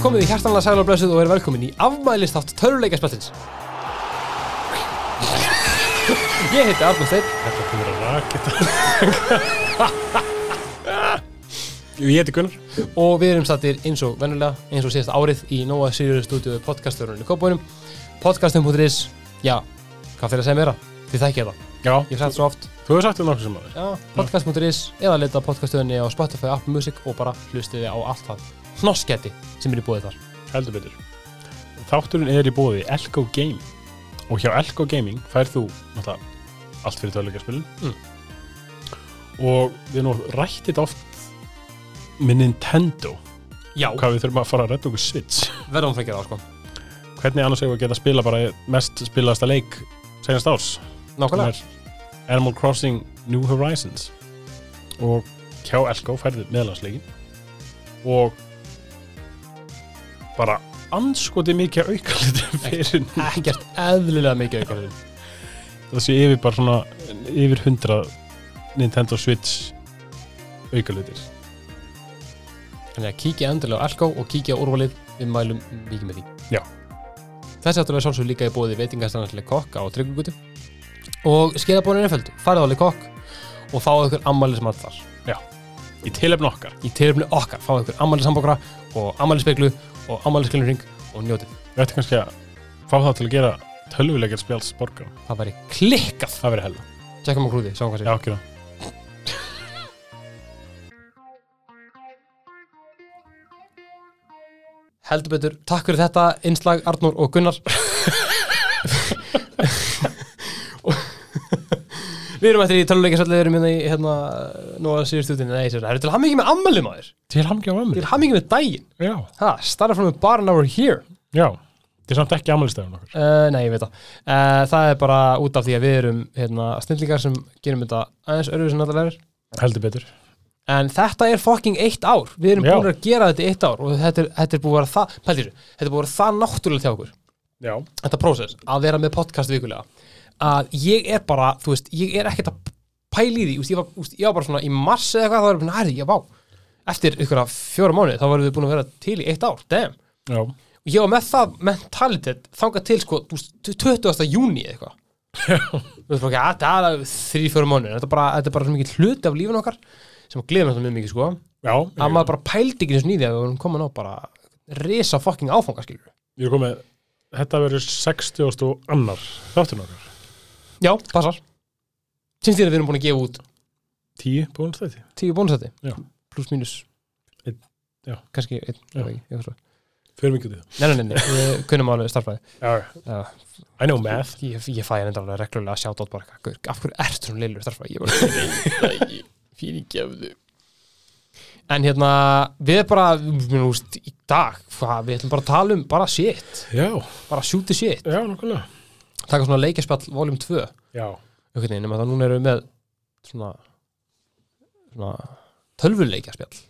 komið í hjartanlega sæl og blessuð og er velkomin í afmælistátt töruleikaspelsins. Ég heiti Arnur Steinn. Þetta komur að raketa Ég heiti Gunnar og við erum sattir eins og vennulega eins og síðasta árið í Nóa Sirius stúdíu podcaststörunni Kópunum podcastum.is já, hvað fyrir að segja meira? Þið þekkja það, Já, ég hef sagt svo oft þú hefur sagt þetta nokkuð sem maður já, podcast.is eða leita podcaststöðunni á Spotify, Apple Music og bara hlustiði á allt það hnossketti sem er í búið þar Heldur betur Þátturinn er í bóði Elko Gaming Og hjá Elko Gaming færð þú náttúrulega allt fyrir töluleikaspilin Mm. Og við erum nú rættið oft með Nintendo já, Hvað við þurfum að fara að redda okkur Switch verðum að gera það sko Hvernig annars hefur við að geta að spila bara mest spilaðasta leik senast árs sem nákvæmlega, er Animal Crossing New Horizons og hjá Elko færði meðlandsleikin og bara anskoti mikið aukaliti fyrir ekkert eðlilega mikið aukarinn það sé yfir bara svona yfir 100 Nintendo Switch aukalitir þannig að kíkja endilega á Elko og kíkja á úrvalið við mælum mikið með því Já. þessi áttur er sjálfsög líka í bóði veitingastanarlega kokka á tryggugutu og skeiðabónin er fæld, farið á leikokk og fáið ykkur ammælismat þar í tilefni okkar í tilöfni okkar, fáið ykkur ammælisambokra og ammælispeglu og ammælisklinuring og njótið, við ættum kannski að fá það til að gera tölvuleikar spjáls borgar það væri klikkað það verið hella tjekkum á krúði, sjáum hvað já sér ekki það heldur betur, takk fyrir þetta, innslag Arnur og Gunnar Og- Við erum eftir í töluleikasallið, við erum hérna í hérna, nú að síður stúdíunni, nei, sér, það eru til hamingi með ammælum aður, til hamngja á ömmu til hamingi með daginn, já ha, starra from the bar and over here, já þetta er samt ekki amalistæðun okkar uh, nei, ég veit það, uh, það er bara út af því að við erum hérna snillingar sem gerum þetta aðeins öruvísi en allar er, heldur betur En þetta er fucking eitt ár Við erum Já. búin að gera þetta í eitt ár og þetta er, þetta er búið að vera það pældi þessu, Þetta er búið að vera það náttúrulega hjá okkur já Þetta prósess, að vera með podcast vikulega Að ég er bara, þú veist, ég er ekkert að pæla í því úst, ég, var, úst, ég var bara svona í mars eða eitthvað Það var bara, næri, ég vá Eftir ykkur að fjóra mánuði, þá varum við búin að vera til í eitt ár Damn, já og ég var með það mentalitet Þangað til, sko, þú veist, 20. júni eitthvað Þú veist, bara, ja, það er þrý, fjóra mánuði Þetta er bara, þetta er bara svo mikið hluti af lífin okkar sem gleðum þetta mjög mikið, sko já að maður bara pældi ekki eins og nýði að við vorum komin á bara risa fucking áfanga skilur Ég er komið, þetta verður 60 og annar þátturinn okkar. já, passar syns þér að við erum búin að gefa út 10 bónustæti. tíu bónusæti Já. pluss mínus Einn, já. kannski einn já. Já. Ekki, eitthvað svo. Fyrir mikið til það. nei, nei, nei, nei, við kunnum alveg starfæði Já, Já. I know math. ég, ég fæ henni alveg reglulega að sjá dót bara eitthvað, "Gaur, af hverju ertu hún lillur starfæði ég bara fyrir gefðu en hérna við bara, mér úst, í dag hvað, við ætlum bara að tala um bara shit Já, bara shoot the shit já, nokkulega. taka svona leikjaspjall voljum 2 Já, einhvern veginn, nema það núna erum við með svona, svona tölvuleikja spjall,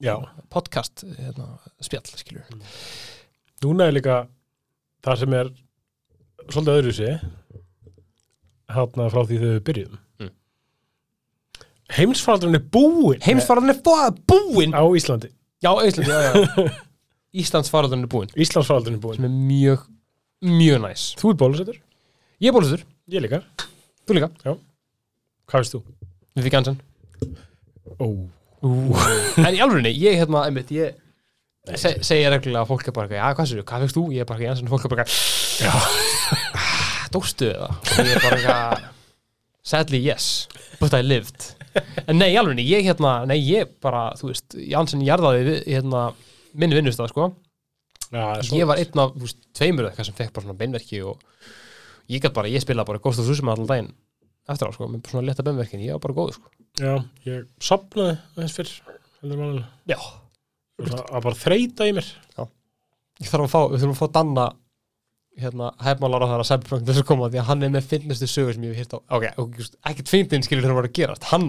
já. podcast hérna, spjall, skilur Núna er líka það sem er svolítið öðru sig, hátna frá því þegar við byrjuðum. Mm. Heimsfaldurinn er búinn Heimsfaraldurinn er fóða búinn á Íslandi. Já, Íslandi, já, já Íslandsfaraldurinn er búinn, Íslandsfaldurinn er búinn. sem er mjög mjög næs. Þú er bólusettur, Ég er bólusuður, ég líka. þú líka, Hvað veist þú? við fikk ansan Ó, En í alvörinni, ég hérna, einmitt, ég se, segja reglulega að fólk er bara eitthvað, já, hvað sér þú, hvað fegst þú? Ég er bara eitthvað, Jansson, fólk er bara eitthvað "Ah, Dóstu eða? Og ég er bara eitthvað Sadly yes, but I lived En nei, í alvörinni, ég hérna, nei, ég bara, þú veist, Jansson jarðaði við, hérna, minn vinnustaf, sko já, Ég var einn af, þú veist, tveimur eða eitthvað sem fekk bara svona beinverki og ég gætt bara, ég spilaði bara Ghost of Tsushima allan daginn eftir á, sko, með svona letta beinverkin, ég var bara góð, sko Já, ég sopnaði aðeins fyrr, heldur mannilega. Já, Það að bara þreita í mér ég þarf að fá, við þurfum að fá Danna hérna, hæfmálar á það að Cyberpunk þess að koma því að hann er með finnustu sögur sem ég hef hirt á ok, ok, just, ekkert fyndin skilur þegar hann var að gerast hann,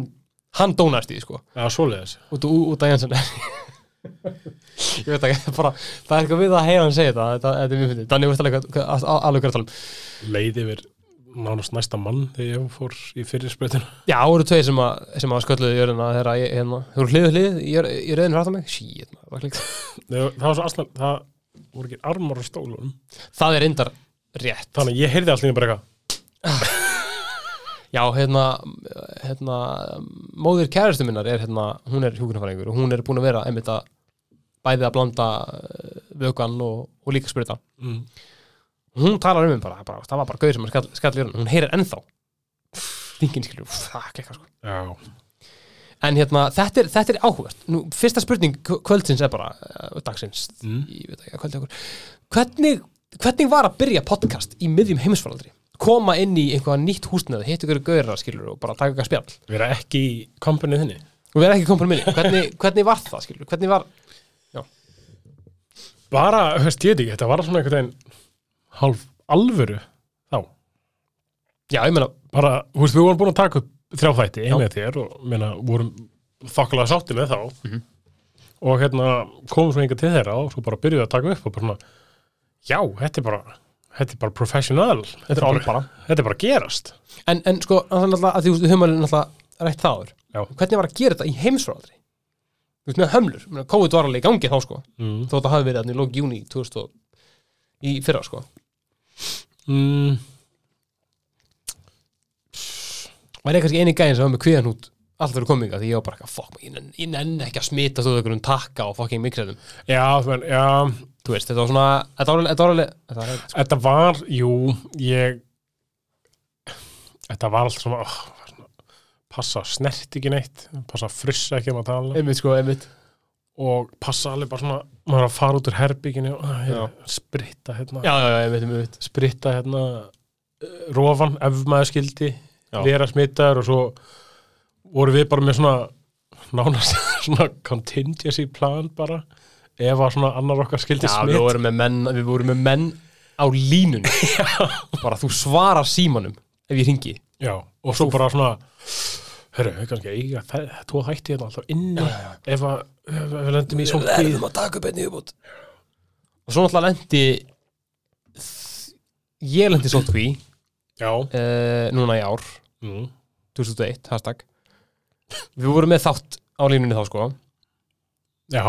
hann dónast í því sko Já, svoleiðis út, ú, út af Jansson ég veit ekki, það er bara það er eitthvað við að heyra hann segja þetta þetta, þetta er mjög fyndið, Danni veist alveg hvað- hvað- að- að- alveg hvað er að tala um Leið yfir nánast næsta mann þegar ég fór í fyrirspöytuna já, það voru tveir sem að, sem að skölluðu í jörðina þegar ég, hérna, þú voru hlið hlið í jörðinu hrættan mig, shit, maður, var klikt Það var svo aðsnall, það voru ekki armar á stólunum það er reyndar rétt þannig að ég heyrði allir bara eitthvað Já, hérna, hérna móðir kærastu minnar er hérna hún er hjúkunarfæringur og hún er búin að vera einmitt að bæði að blanda eh, vökan og, og líka spyrta mm. hún talar um mig bara, bara það var bara gauð sem hann skall, skall í hann hún heyrir ennþá þingin skilur, úff, það kekka sko já, en hérna, þetta er, þetta er áhugast Nú, fyrsta spurning k- kvöldsins er bara uh, dagsins, Mm. ég veit ekki að kvöldi okkur hvernig, hvernig var að byrja podcast í miðjum heimisfaraldri koma inn í einhvað nýtt húsnæði, hitt ykkur gauðra skilur og bara taka eitthvað spjall vera ekki í kompunni þinni og við erum ekki kompunum minni, hvernig, hvernig var það skilur, hvernig var, bara, höfst ég veit ekki, þetta var svona einhvern veginn hálf alvöru þá já ég meina bara, þú veist, við vorum búin að taka upp þrjá þætti, Já. einu með þér og meina, vorum þokkalega sátti með þá og hérna komum svo enga til þeirra og svo bara byrjuði að taka upp og bara svona, já, þetta er bara þetta er bara professional þetta er bara, bara þetta er bara að gerast en, en sko, þannig að því þú veist, við höfum alveg náttúrulega rætt það áður Já. hvernig var að gera þetta í heimsfráaldri þú veist með hömlur, Ég meina, COVID var alveg í gangi þá sko mm. þó þetta hafi verið þannig í lók júni 2000 og- í fyrra sko Mm. var ég kannski eini gæðin sem var með kviðan út alltaf fyrir kominga því ég var bara eitthvað, fuck, ég nenn, ég nenn ekki að smita þú einhverjum takka og fucking mikræðum já, menn, já þú veist, þetta var svona, þetta var alveg þetta var alveg, þetta var alveg þetta var, jú, ég þetta var allt svona, oh, var svona passa snert ekki neitt passa að frussa ekki um að tala einmitt sko, einmitt og passa alveg bara svona maður er að fara út úr herbygginu og ah, hérna, spritta hérna já, já, já, einmitt, einmitt spritta hérna eh, rofan ef maður skildi Já. vera smittaður og svo voru við bara með svona nánast svona contingency plan bara ef að svona annar okkar skildi Já, við smitt vorum með menn, við vorum með menn á línunni bara þú svarar símanum ef ég ringi Já, og svo bara svona Hörru, við kannski eiga þe- tvo þætti hérna alltaf inni ef að ef að við lendum í svona tíð að taka upp einni uppbútt og svo náttúrulega lendi ég lendi svo tví Já, uh, núna í ár mm. 2001, hashtag við vorum með þátt á línunni þá sko já,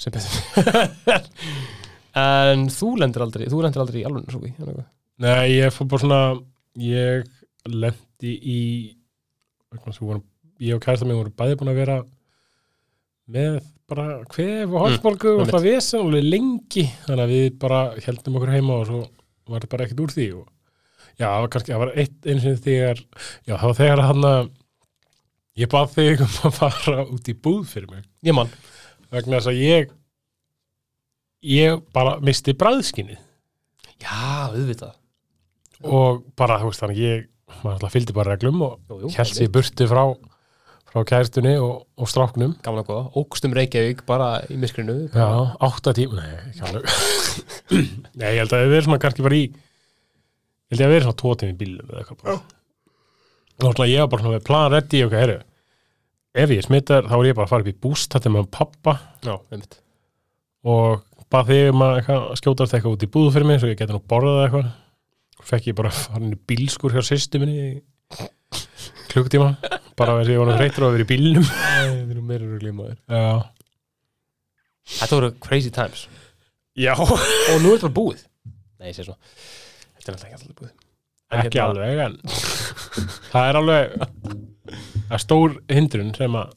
sem betur fer. en þú lendir aldrei þú lendir aldrei í alveg svo því nei, ég fór bara svona ég lendi í vegna þess að við vorum, ég og kærsta mér voru bæði búin að vera með bara kvef og hálsbólgu og einmitt. alltaf vesen alveg lengi þannig að við bara heldum okkur heima og svo var þetta bara ekkert úr því og já, það var kannski, það var eitt einu sinni þegar já, það var þegar að hann að ég bað þig um að fara út í búð fyrir mig ég mann, vegna þess að ég ég bara misti bræðskinni já, auðvitað og bara, þú veist, þannig ég maður alltaf fylgdi bara reglum og jú, jú, hélt sér burtu frá, frá kæristunni og, og stráknum gamla góða, ókstum um Reykjavík bara í miskrinu já, átta tíma, nei, ekki alveg nei, ég held að það verið svona kannski bara í ég held að það verið svona tvo tíma í bílum eða eitthvað bara og alltaf ég var bara svona með plan reddi og hvað heru ef ég er smittar, þá er ég bara að fara upp í búst þetta með pappa já, einmitt og bað þig um að eitthvað, skjótast eitthvað út í búðu fyrir mig svo ég geti nú borðað eitthvað og fekk ég bara farin í bílskur hjá sýstu minni í klukkutíma bara þess að ég var nú hreittur á að vera í bílnum Við erum meira rugl í maður Já, Þetta voru crazy times Já. Og nú er þetta bara búið Nei, ég sé svona Þetta er náttúrulega ekki alltaf búið En ekki hérna- alveg en það er alveg það er stór hindrun sem að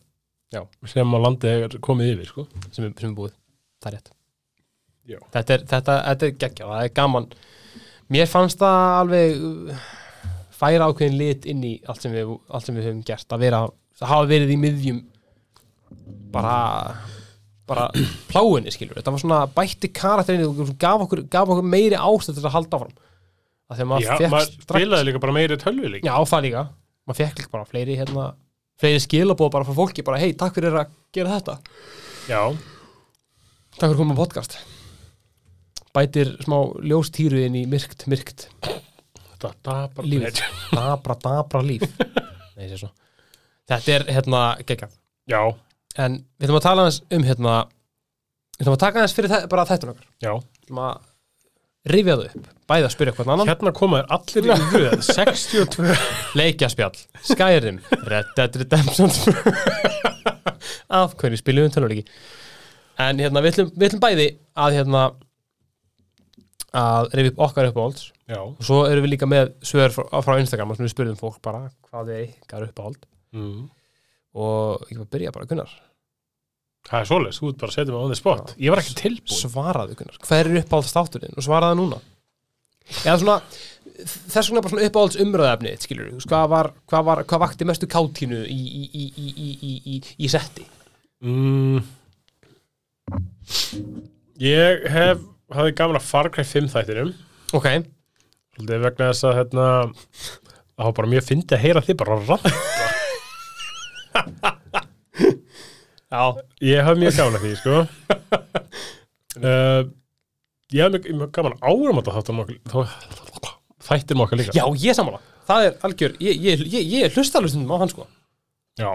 Já. sem að landið er komið yfir sko. Sem er, sem er búið Það er rétt Já. Þetta er, þetta, þetta er geggja Það er gaman Mér fannst það alveg uh, Færa ákveðin lit inn í allt sem við, allt sem við höfum gert Að vera Að hafa verið í miðjum Bara bara pláinni skilur þetta var svona bætti karakterinu og gaf okkur, gaf okkur meiri ástæð til að halda áfram að þegar maður Já, fékk maður strax- spilaði líka bara meiri tölvi líka Já, það líka maður fekk líka bara fleiri hérna fleiri skilabóð bara frá fólki bara hei, takk fyrir að gera þetta Já, takk fyrir að koma á podcast bætir smá ljóstýru inn í myrkt, myrkt þetta dapar líf dabra, dabra líf Nei, ég sé svo. þetta er hérna geggjað Já, en við ætlum að tala aðeins um hérna við ætlum að taka aðeins fyrir þe- bara þetta okkar já við ætlum að rifja þau upp bæði að spyrja hvern annan Hérna komaður allir í röð 62 leikjaspjall, Skyrim Red Dead Redemption 2. af hverju spilum við tölvuleiki en hérna, við ætlum, við ætlum bæði að hérna að reyfi upp okkar uppáhalds já, og svo erum við líka með svör frá, frá Instagram sem við spurðum fólk bara hvað er ykkar uppáhald mm. og ég var að byrja bara Gunnar það er svoleiðis, þú ert bara að setja mig on the spot ég var ekki tilbúin svaraðu Gunnar, hver er uppáhalds þátturinn og svaraðu núna eða svona þess vegna bara svona uppáhalds umröðefni skilur við, hvað var, hvað var hvað vakti mestu kátínu í, í, í, í, í, í, í, í setti mm. ég hef hafði gaman að Far Cry 5 þættinum ok, svolítið vegna þess að hérna, það var bara mjög fyndið að heyra þig bara rann já, Ég hafði mjög gaman að því, sko uh, Ég hafði mjög, mjög gaman árum að þáttum okkur þá- Þættir okkar líka já ég samanlega það er algjör, ég, ég, ég, ég hlusta hlustundum á hann sko, Já.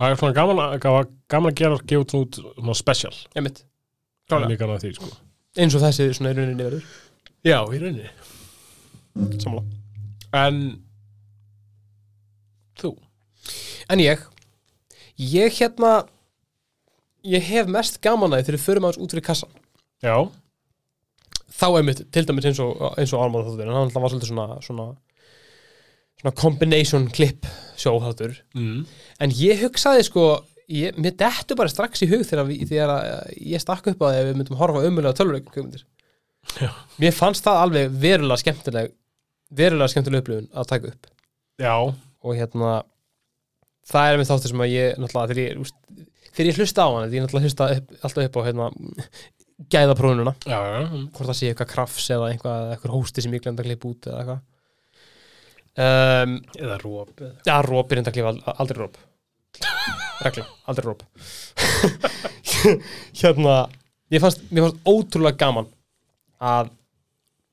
Það er svona gaman að, gaman- gaman að gera gefa út út svona special einmitt Það Klálega. er mjög gaman að því, sko eins og þessi svona í rauninni verður Já, í rauninni samanlega, En Þú en ég ég hérna ég hef mest gaman að því þegar við förum aðeins út fyrir kassan Já, þá einmitt, til dæmis eins og, eins og Armand þáttur, en hann alltaf var svolítið svona svona, svona combination clip sjóháttur, mm. en ég hugsaði sko, ég, mér dettu bara strax í hug þegar, við, þegar að ég stakk upp að því að við myndum horfa umulega tölvuleik kvikmyndir. Já. mér fannst það alveg verulega skemmtileg verulega skemmtileg upplifun að taka upp já, og hérna það er með þáttur sem að ég náttúrulega þegar ég, úst, þegar ég hlusta á hann ég náttúrulega hlusta upp, alltaf upp á hérna, gæðaprónuna já, já mm. hvort það sé eitthvað krafs eða eitthvað, eitthvað hósti sem ég glemd að klippa út eða eitthvað um, Eða róp Já, Já, róp er enda að klifa ald- aldrei róp Regla, aldrei róp Hérna Mér fannst, mér fannst ótrúlega gaman að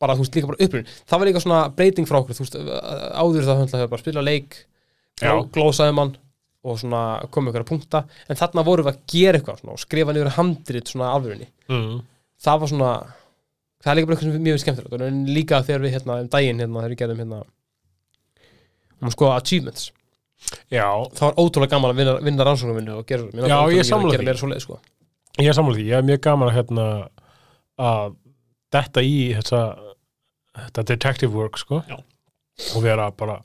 bara, þú veist, líka bara upplýn Það var líka svona breyting frá okkur, þú veist áður það höndla hefur bara spila leik Já. glósaði mann og svona komið ykkur að punkta, en þarna vorum við að gera eitthvað svona, og skrifa niður handrit svona alvörinni mm. það var svona það er líka bara eitthvað sem mjög skemmtilegt en líka þegar við hérna um daginn hérna þegar við gerðum hérna um sko achievements já það var ótrúlega gaman að vinna, vinna rannsóknarvinnu og gera mér Já, langar ótrúlega ég mikið sammála að því. gera meira svoleið sko Ég er sammála því, ég er mjög gaman að hérna að detta í þessa, þetta detective work sko Já. og vera bara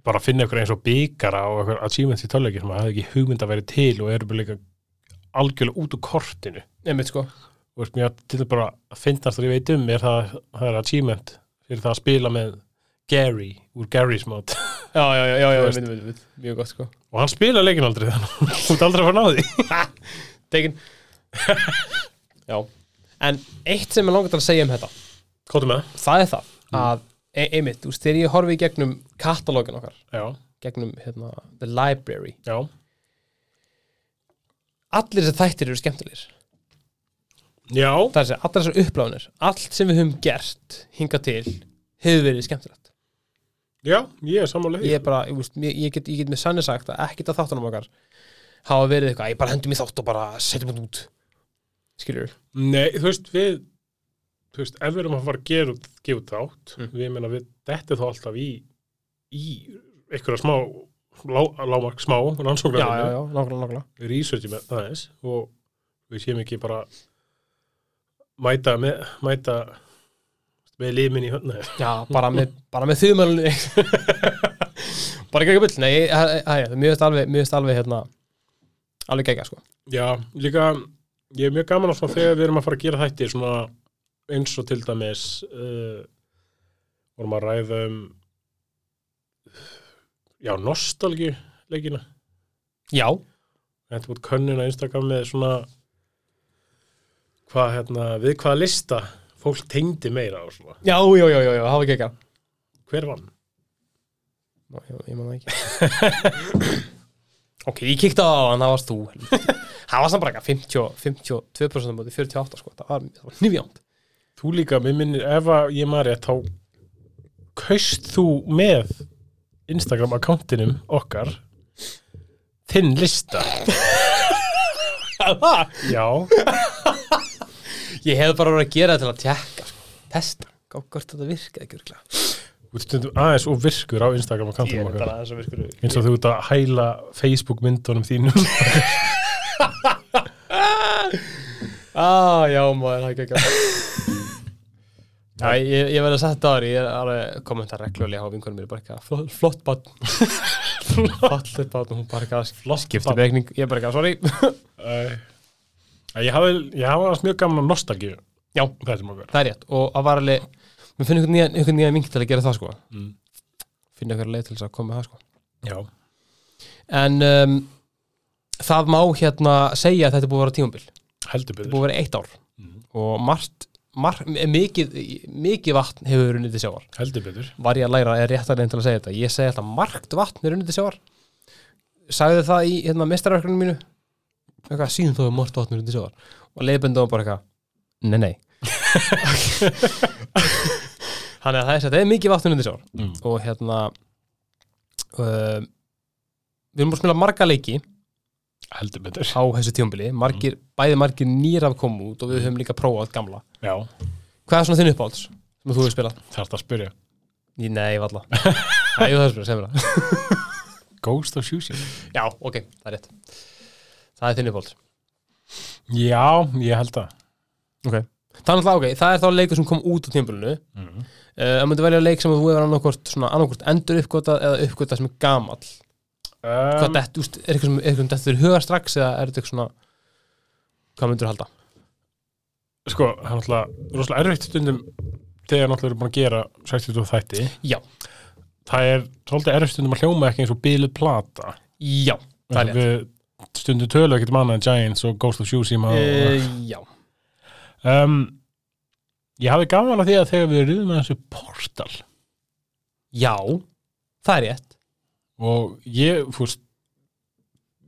bara að finna ykkur eins og bygara og ykkur achievements í tölvöki sem að hafði ekki hugmynd að vera til og eru bara líka algjörlega út úr kortinu einmitt sko og veist, mér til bara að finnast það ég veit um er það, það er achievement fyrir það að spila með Gary úr Gary's mod já já já já, já Þú einmitt, veist. einmitt, einmitt, mjög gott sko og hann spila leikin aldrei þannig að þú ert aldrei að fara að ná því tekin já en eitt sem ég langar til að segja um þetta Kóttu með það er það að e einmitt þú veist þegar ég horfi í gegnum katalógin okkar það Já, gegnum hérna the library já, allir þessi þættir eru skemmtilegir já, það er að segja, allar þessar uppláðunir allt sem við höfum gert hinga til hefur verið skemmtilegt já ég er sammála því ég, er bara, ég, veist, ég, ég, get, ég get með sannig sagt að ekkert af þáttunum okkar hafa verið eitthvað, ég bara hendum í þátt og bara setjum þetta út skilur Nei, þú veist, við þú veist, ef við erum að fara að gera út, gefa út þátt, Mm. við meina við þetta þá alltaf í, í einhverja smá, lá, lámark smá já, já, rannsóknarvinnu, já, nákvæmlega, nákvæmlega við researchum með aðeins og við séum ekki bara mæta með, mæta með limin í hönda já, bara með, bara með þumölunni bara ekki ekki bull nei, það er mjög veist alveg, mjög veist alveg hérna, alveg gegga sko Já, líka ég er mjög gaman að svona þegar við erum að fara að gera þætti svona eins og til dæmis uh, vorum að ræða um já, nostalgju leikina, já, þetta búið könnun á Instagram með svona hvað hérna, við hvaða lista fólk tengdi meira á svona já, já, já, já, já hafa gegga hver vann? Ná, ég, ég man það ekki Ok, ég kíkti á það áðan, það varst þú helvíti. Það var samt bara eitthvað 50 52% á móti 48 sko, það var, það var nýfjönd Þú líka, mér minnir, ef að ég maður rétt þá kaust þú með Instagram akkántinum okkar þinn lista Já, Ég hef bara verið að gera það til að tjekka sko, testa, gá hvort þetta virkaði ekki örugglega. þú ert stundum aðeins og virkur á Instagram Ég akkantum er okkar bara aðeins að virkur eins og þú ert að hæla Facebook myndunum þínum Æ, ah, já maður, það er ekki ekki Já, ég, ég verði að setja það ári, ég er alveg kommentar reglulega á vinkunum mér, bara ekki að flott, flott bann, flott bann, hún bara ekki að Flott skipta beigning, ég bara ekki að sorry. uh, Ég hafi ég hafi aðeins mjög gaman á nostalgíu um Já, þessum okkar það er rétt, og að var alveg, mér finnum einhvern nýjan, einhvern nýjan vink til að gera það sko, Mm. finna einhver leið til þess að koma með það sko. Já, En um, það má hérna segja að þetta er búið að vera tímambil, þetta heldur er byrður búið að vera eitt ár Mm. og margt, margt, mikið, mikið vatn hefur verið nýttið sjávar. Heldur byrður var ég að læra er réttarlegin til að segja þetta ég segi alltaf margt vatn er unnið til sjávar sagði það í hérna mestarverkunum mínu eitthvað síðan þó er margt vatn er unnið til sjávar og leiðbundum bara eitthvað nei nei þannig að það er sætt eða mikið vatn er unnið til sjávar mm. og hérna um, við erum búin að spila marga leiki Heldur byrður á þessu tíumbili margir, bæði margir nýr af komu út og við höfum líka prófað gamla Já, hvað er svona þinn uppáhalds sem þú hefur spilað? þarf að spyrja Í- Nei, valla Æ, það er spilað, sem er það Ghost of Sushi Já, ok, það er rétt Það er þinni bólt Já, ég held það okay. Það er náttúrulega ok, það er þá leikur sem kom út á tímabölinu mm. Það uh, myndi velja leik sem að þú hefur annarkvort, svona, annarkvort endur uppgötað eða uppgötað sem er gamall Hvað um, dett, úst, er eitthvað sem er eitthvað dettur í huga strax eða er þetta eitthvað svona Hvað myndur halda? Sko, það er náttúrulega rosalega erfitt stundum þegar náttúrulega eru búin að gera 60 þætti Já, Það er svolítið erfitt stundum að hljóma ekki eins og bíluð plata já, það er rétt Við stundum tölu ekkert manna en Giants og Ghost of Tsushima og, uh, Já, um, Ég hafi gaman að því að þegar við rýðum að þessu portal já, það er rétt og ég, fúst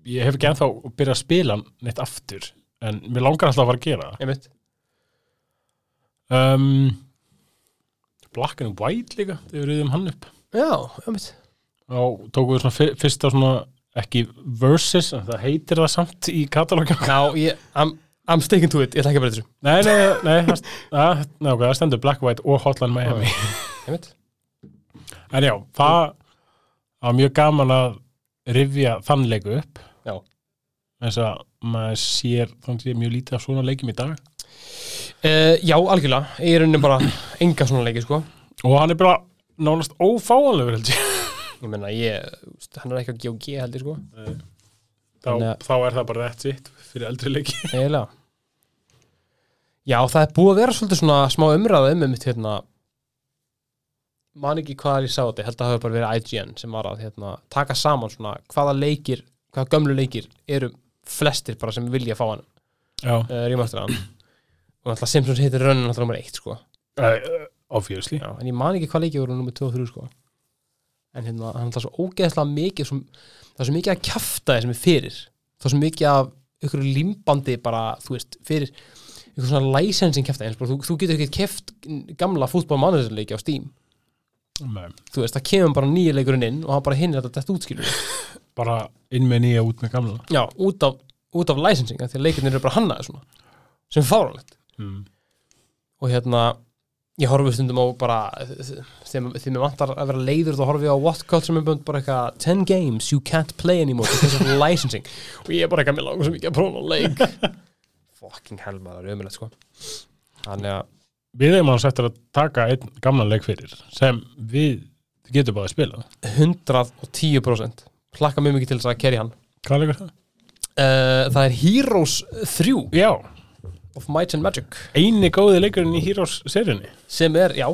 ég hef ekki ennþá byrjað að spila hann neitt aftur en mér langar alltaf að fara að gera Einmitt. það um, Black and White líka þegar við rýðum hann upp Já, einmitt og tókum við svona fyr- fyrsta svona ekki versus, en það heitir það samt í katalóginu Já, ég, I'm, I'm sticking to it, ég ætla ekki að breyta þessu Nei, nei, nei, það, það, nei ok, það stendur Black, White og Hotline Miami Einmitt, En já, það var mjög gaman að rifja þann leiku upp Já. Þess að maður sér, þannig sé mjög lítið af svona leikjum í dag uh, já, algjörlega, ég er unni bara enga svona leiki, sko Og hann er bara nánast ófáanlegur held ég ég meina ég, þú veist, hann er ekki á GOG heldur sko, þá, Þannig að- þá er það bara rétt sitt fyrir eldri leiki eiginlega já það er búið að vera svolítið svona smá umræða um mitt hérna man ekki hvað ég sá þetta, ég held að það hafi bara verið IGN sem var að hérna, taka saman svona hvaða leikir, hvaða gömlu leikir eru flestir bara sem vilja fá hann Já, uh, rýmastur hann og náttúrulega Simpsons heitir rönnin náttúrulega nummer eitt sko uh, obviously já, en ég man ekki hvað leikir voru nummer 2 og 3 sko en hérna, hann er svo ógeðslega mikið svo, það er svo mikið að kjafta sem er fyrir það er svo mikið af ykkur limbandi bara, þú veist, fyrir ykkur svona licensing kjafta eins, bara, þú, þú getur ekki keft gamla fútbolmannarsleiki á Steam Nei. þú veist, það kemur bara nýja leikurinn inn og hann bara hinir þetta dætt útskilur Bara inn með nýja út með gamla já, út af, út af licensing af því að leikirnir eru bara hannaði svona sem er fáránlegt mm. og hérna ég horfi stundum á bara þegar þegar mér vantar að vera leiður þá horfi ég á Whatcall sem er búin bara eitthvað 10 games you can't play anymore because of licensing og ég er bara eitthvað mér langar sem ekki að prófa að leik fucking hell maður, ömulegt sko þannig að, Við eigum hans eftir að taka einn gamlan leik fyrir sem við getum bara að spila 110% hlakka mjög mikið til þess að kerja hann Hvað leikur það? uh, það er Heroes 3 Já, of Might and Magic eini góði leikurinn í Heroes seriunni sem er, já,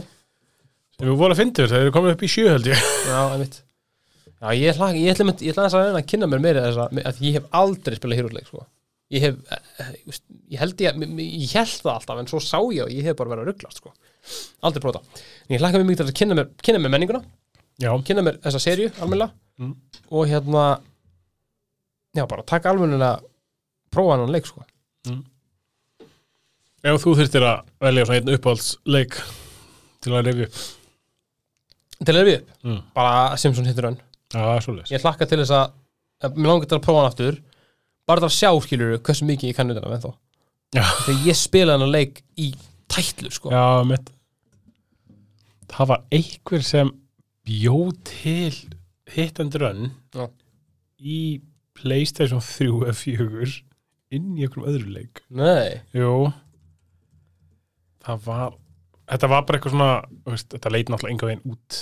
sem við vorum að fyndi það eru komið upp í sjö held ég já, einmitt já, ég hlakka, ég ætla einmitt- ég ætla þess að reyna að kynna mér meira þess að, að ég hef aldrei spilað Heroes leik sko ég hef, eh, ég veist, ég held ég, ég, ég held það alltaf en svo sá ég og ég hef bara verið að ruggla sko. aldrei prófa það. en ég hlakka mjög mikið til að kynna mér, kynna mér menninguna, Já, kynna mér þessa serju almennilega Mm. og hérna já bara taka almennilega prófa hennan leik sko ef þú þurftir að velja svona einn uppáhaldsleik til að revju til að við upp, Mm. bara Simpson hittur hann Já, það er svoleiðis ég hlakka til þess að, að mér langar til að prófa hann aftur bara til að sjá skilur hversu mikið ég kannu þetta með Já. þá þegar ég spila hennan leik í tætlu sko Já, mitt Það var einhver sem bjó til Hit and Run Já. í Playstation 3 eða 4 inn í einhverjum öðru leik Nei Jú Það var Þetta var bara eitthvað svona þú veist, Þetta leit náttúrulega enga veginn út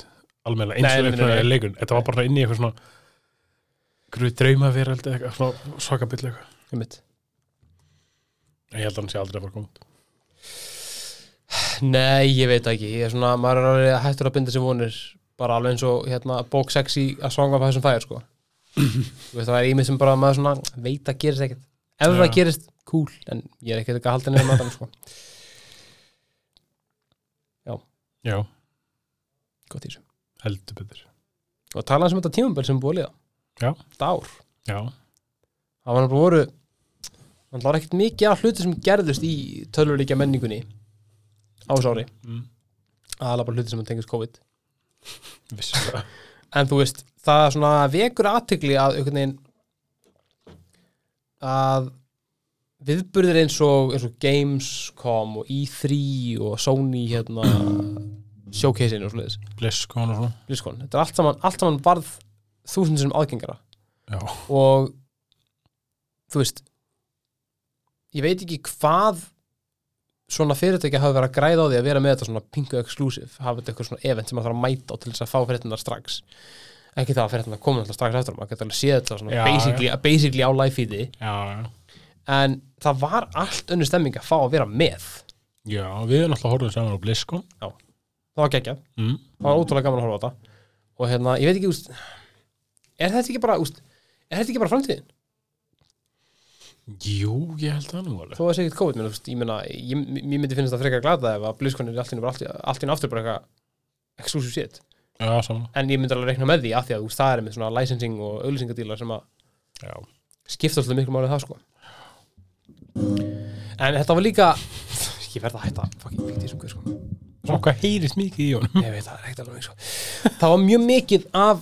almennilega eins Nei, og nei, eitthvað nei, nei. leikun Þetta var bara svona inn í eitthvað svona Gruð drauma fyrir eitthvað svona svakabill eitthvað einmitt. En Ég held að hann sé aldrei að fara góð Nei, ég veit ekki Ég er svona, maður er alveg hættur að binda sér vonir bara alveg eins og hérna bók 6 í að svanga þessum fæður sko Þú veist, það er ímið sem bara maður svona veit að gerist ekkert Ef Já. það gerist, cool en ég er ekkert ekki að halda nefnum að sko Já, Gott í þessu heldur betur Og talaðum sem þetta tímumbil sem er búið að liða Já. Þetta ár Já, Það var náttúrulega voru Það var ekkert mikið af hluti sem gerðust í tölvuleikja menningunni á þessu ári mm. Það er bara hluti sem tengist COVID vissulega En þú veist, það svona vekur aðtegli að einhvern veginn að viðburðir eins og, eins og Gamescom og E3 og Sony hérna showcase-in og svoleiðis Bliss sko, og svona BlizzCon, þetta er allt saman, allt saman varð þúsund sem aðgengara Já, og þú veist ég veit ekki hvað svona fyrirtækja hafa verið að græða á því að vera með þetta svona pingu exclusive hafa þetta eitthvað svona event sem maður þarf að mæta á til þess að fá fyrirtæknar strax ekki það að fyrirtæknar koma alltaf strax eftir á, maður getur alveg séð þetta svona Já, basically, basically á live feedi já, já en það var allt önnur stemming að fá að vera með það Já, við erum alltaf horfðum saman á Bliss sko. var geggjað, mm. það var ótrúlega gaman að horfa á þetta og hérna, ég veit ekki úst, er þetta ekki bara úst, er þetta ekki bara framtíðin? Jú, ég held það nú alveg þó að segja ekkert COVID, menn, þú veist, ég meina ég, ég myndi finnst það frekar glata ef að BlizzCon er allt í einu bara allt í- allt í einu aftur bara eitthvað exclusive shit, Já, saman en ég myndi alveg reikna með því af því að þú veist, það er með svona licensing og auðlýsingadílar sem að Já, skipta alltaf miklu málið það sko en þetta var líka ég verð að hætta, fucking fíkt í þessum guð sko svona hvað heyrist mikið í honum ég veit það er ekkert alveg eins og það var mjög mikið af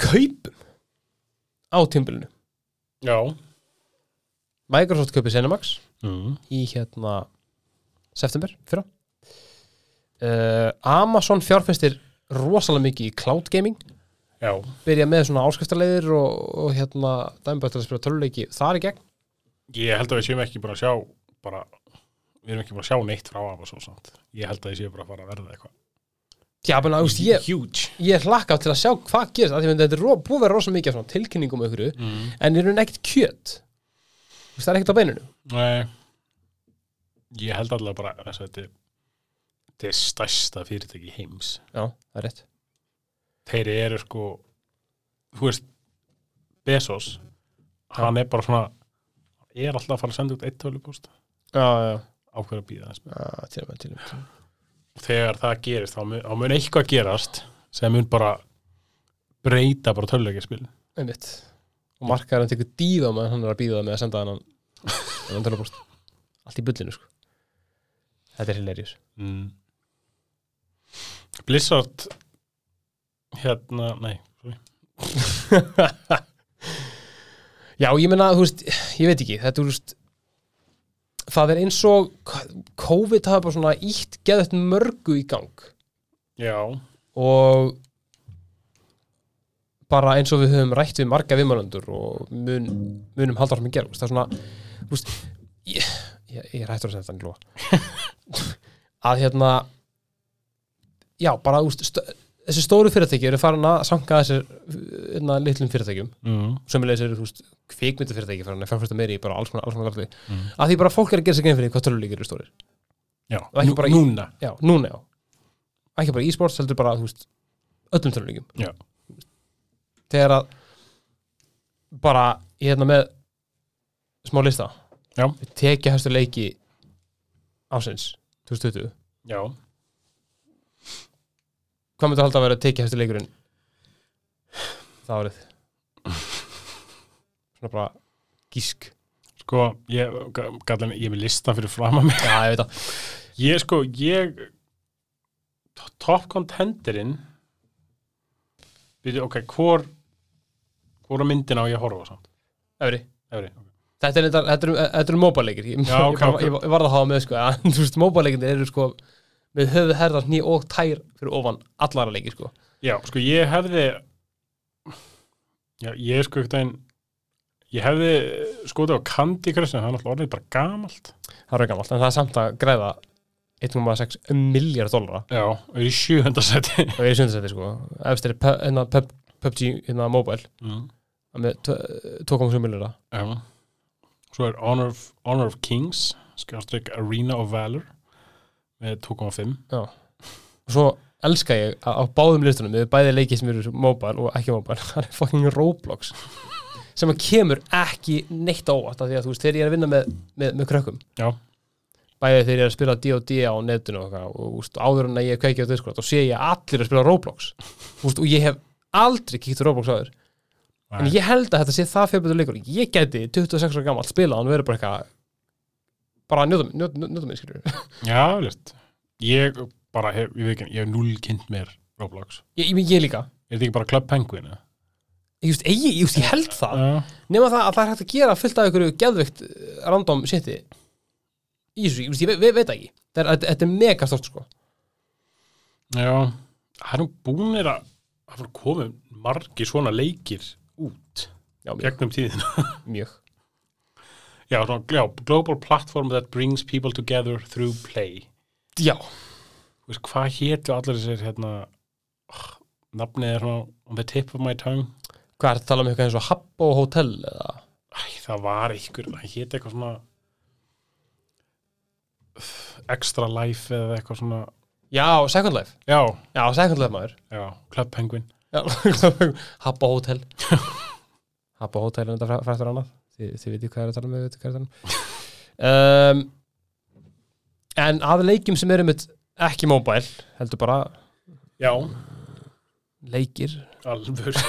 kaupum á tímbilinu Já Microsoft kaupið Cinemax mm. í hérna september fyrra uh, Amazon fjárfæstir rosalega mikið í cloud gaming Já, byrja með svona áskriftarleiðir og, og hérna dæmbætt til að spila töluleiki þar í gegn Ég held að við séum ekki bara að sjá bara, við erum ekki bara að sjá neitt frá Amazon samt. Ég held að ég séu bara að fara að verða eitthvað Já, menn, þú veist, ég, Huge ég hlakka til að sjá hvað gerist af því að þetta er ro- búið að vera rosalega mikið af svona tilkynningum og ykkur mm. en er hún ekkert kjöt Þú veist, það er ekkert á beininu Nei Ég held allavega bara þess að þetta er- þetta er stærsta fyrirtæki heims Já, það er rétt Þeir eru sko þú veist Bezos hann er bara svona er alltaf að fara að senda út eitt tölupúst Já, já, ákveður að býða þess já, til og með, til og með og þegar það gerist þá mun, þá mun eitthvað gerast sem mun bara breyta bara töluleikaspil Einmitt Og markaðar hann tekur dýða meðan hann er að býða það með að senda hann hann tölvupúst Allt í bullinu sko Þetta er hilarious mm. Blizzard hérna, nei sorry. Já, ég meina, þú veist, ég veit ekki þetta, þú veist það er eins og COVID hafa bara svona ítt geðut mörgu í gang já, og bara eins og við höfum rætt við marga viðmælendur og mun, munum halda sem ég gera, þú veist, það er svona þú veist, ég, ég, ég er hættur að segja þetta en glóa að hérna já, bara, þú veist, stö, þessi stóru fyrirtæki eru farin að sanga þessir hérna, litlum fyrirtækjum mm. sömulegis eru þú veist kvikmyndafyrirtæki fyrir hann að fjárfæsta meiri í bara alls konar, alls konar verði Mm. að því bara fólk er að gera sér grein fyrir því hvað töluleikir eru stórir já. Og ekki bara í- núna já, núna já ekki bara e-sports, heldur bara þú veist öllum töluleikum Já. þegar að bara ég hérna með smá lista Já. við tekja hæstu leiki ásins 2020 já, hvað myndi að halda að vera tekja hæstu leikurinn það árið svona bara gísk sko ég, gallan, ég er með lista fyrir fram að mig já, ég veit að ég sko, ég to- top contenderinn byrju, ok, hvor hvora myndina á ég að horfa á samt Efri. Efri, ok Þetta er, þetta, þetta er, þetta er móbaleikir ég, Já, ég, ok, bara- ok. ég, ég varð að hafa með sko, að, þú veist, móbaleikinir eru sko með höfuð herðar hný og tær fyrir ofan allara leikir sko Já, sko ég hefði Já, ég er sko ekkert einn ég hefði skotið á Candy Crush en það er náttúrulega orðið bara gamalt það er gamalt, en það er samt að græða 1,6 miljard dólara já, og er í sjöhundarsæti og við erum sundarsæti sko efst er pub- hérna, pub- PUBG hérna mobile mm. með tve- 2,7 miljardar já svo er Honor of, Honor of Kings skjástrík Arena of Valor með 2,5 og svo elska ég að á báðum listunum við erum bæði leikið sem eru mobile og ekki mobile það er fucking Roblox sem að kemur ekki neitt á óvart af því að þú veist, þegar ég er að vinna með, með, með krökkum Já. bæði þegar ég er að spila D&D á netinu og, eitthvað, og úst, áður en að ég kveiki á Discord og sé ég að allir að spila Roblox úst, og ég hef aldrei kíkt á Roblox áður en Nei. ég held að þetta sé það fjörbjöldur leikur ég gæti 26 ára gammal spila og hann verður bara eitthvað bara að njóta mig, njóta, njóta mig skilur ég, já, veist ég bara hef, ég veit ekki, ég hef núl kynnt mér Roblox, ég, meina, ég líka er þetta ekki bara Club Penguin eða? ég, just, ég, ég, just, ég held það já, nema það að það er hægt að gera fullt af einhverju geðveikt eh, random shiti í þessu, ég, just, ég ve, ve, veit það ekki Það er- þetta er mega stort sko já það er nú búinir að það fyrir komið margi svona leikir út já, mjög, gegnum tíðin mjög. Já, svona, já, global platform that brings people together through play já, Þú veist, Hvað hétu allir þessir hérna oh, nafnið er svona on the tip of my tongue hvað er að tala um eitthvað eins og Habbo Hotel eða Æ, það var einhver, það hétu eitthvað svona extra life eða eitthvað svona já, Second Life, Já, já, Second Life maður já, Club Penguin Já, Habba Hotel Habba Hotel er þetta frættur annað þið, þið vitið hvað er að tala um, þið vitið hvað er að tala um. um En að leikjum sem eru með ekki móbæl, heldur bara Já, leikir, alvör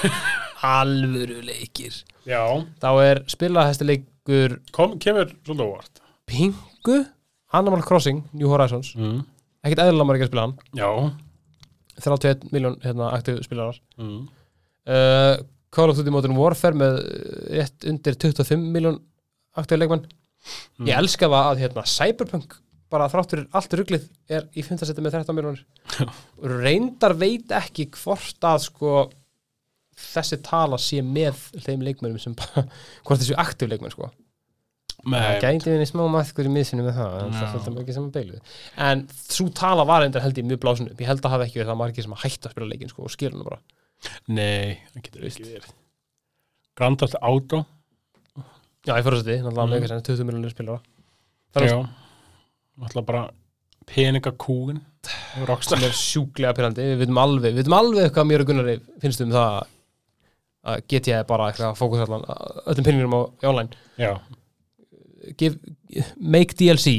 alvöru leikir Já, þá er spilahæsti leikur kom, kemur svolítið óvart Pingu, Animal Crossing New Horizons, mm. ekkert eðlilega maður ekki að spila hann Já 31 miljón hérna, aktíf spilarar mm. uh, Call of Duty Modern Warfare með eh, rétt undir 25 miljón aktíf leikmann Ég elska það að hérna, Cyberpunk bara þrátt fyrir allt ruglið er í 5. seti með 13 miljonir reyndar veit ekki hvort að sko þessi tala sé með þeim leikmönnum sem bara, hvort þessu aktíf leikmönn sko það Nei, gæti við smá maðkur í miðsinu með það en það Já. fylgta ekki saman beiluð en svo tala var reyndar held ég mjög blásin upp ég held að hafa ekki verið það margir sem að hætta að spila leikin sko og skilur hann bara Nei, það getur ekki verið Grand Theft Auto já ég fyrir seti, náttúrulega mm. Mm. leikar sem 20 miljonir spilara Það er- Já, náttúrulega bara peningakúin sem Rockstar er sjúklega pyrrandi við veitum alveg, við veitum alveg hvað mér og Gunnari finnst um það að get ég bara eitthvað að fókus allan öllum pinningunum á í online Já, Give, make DLC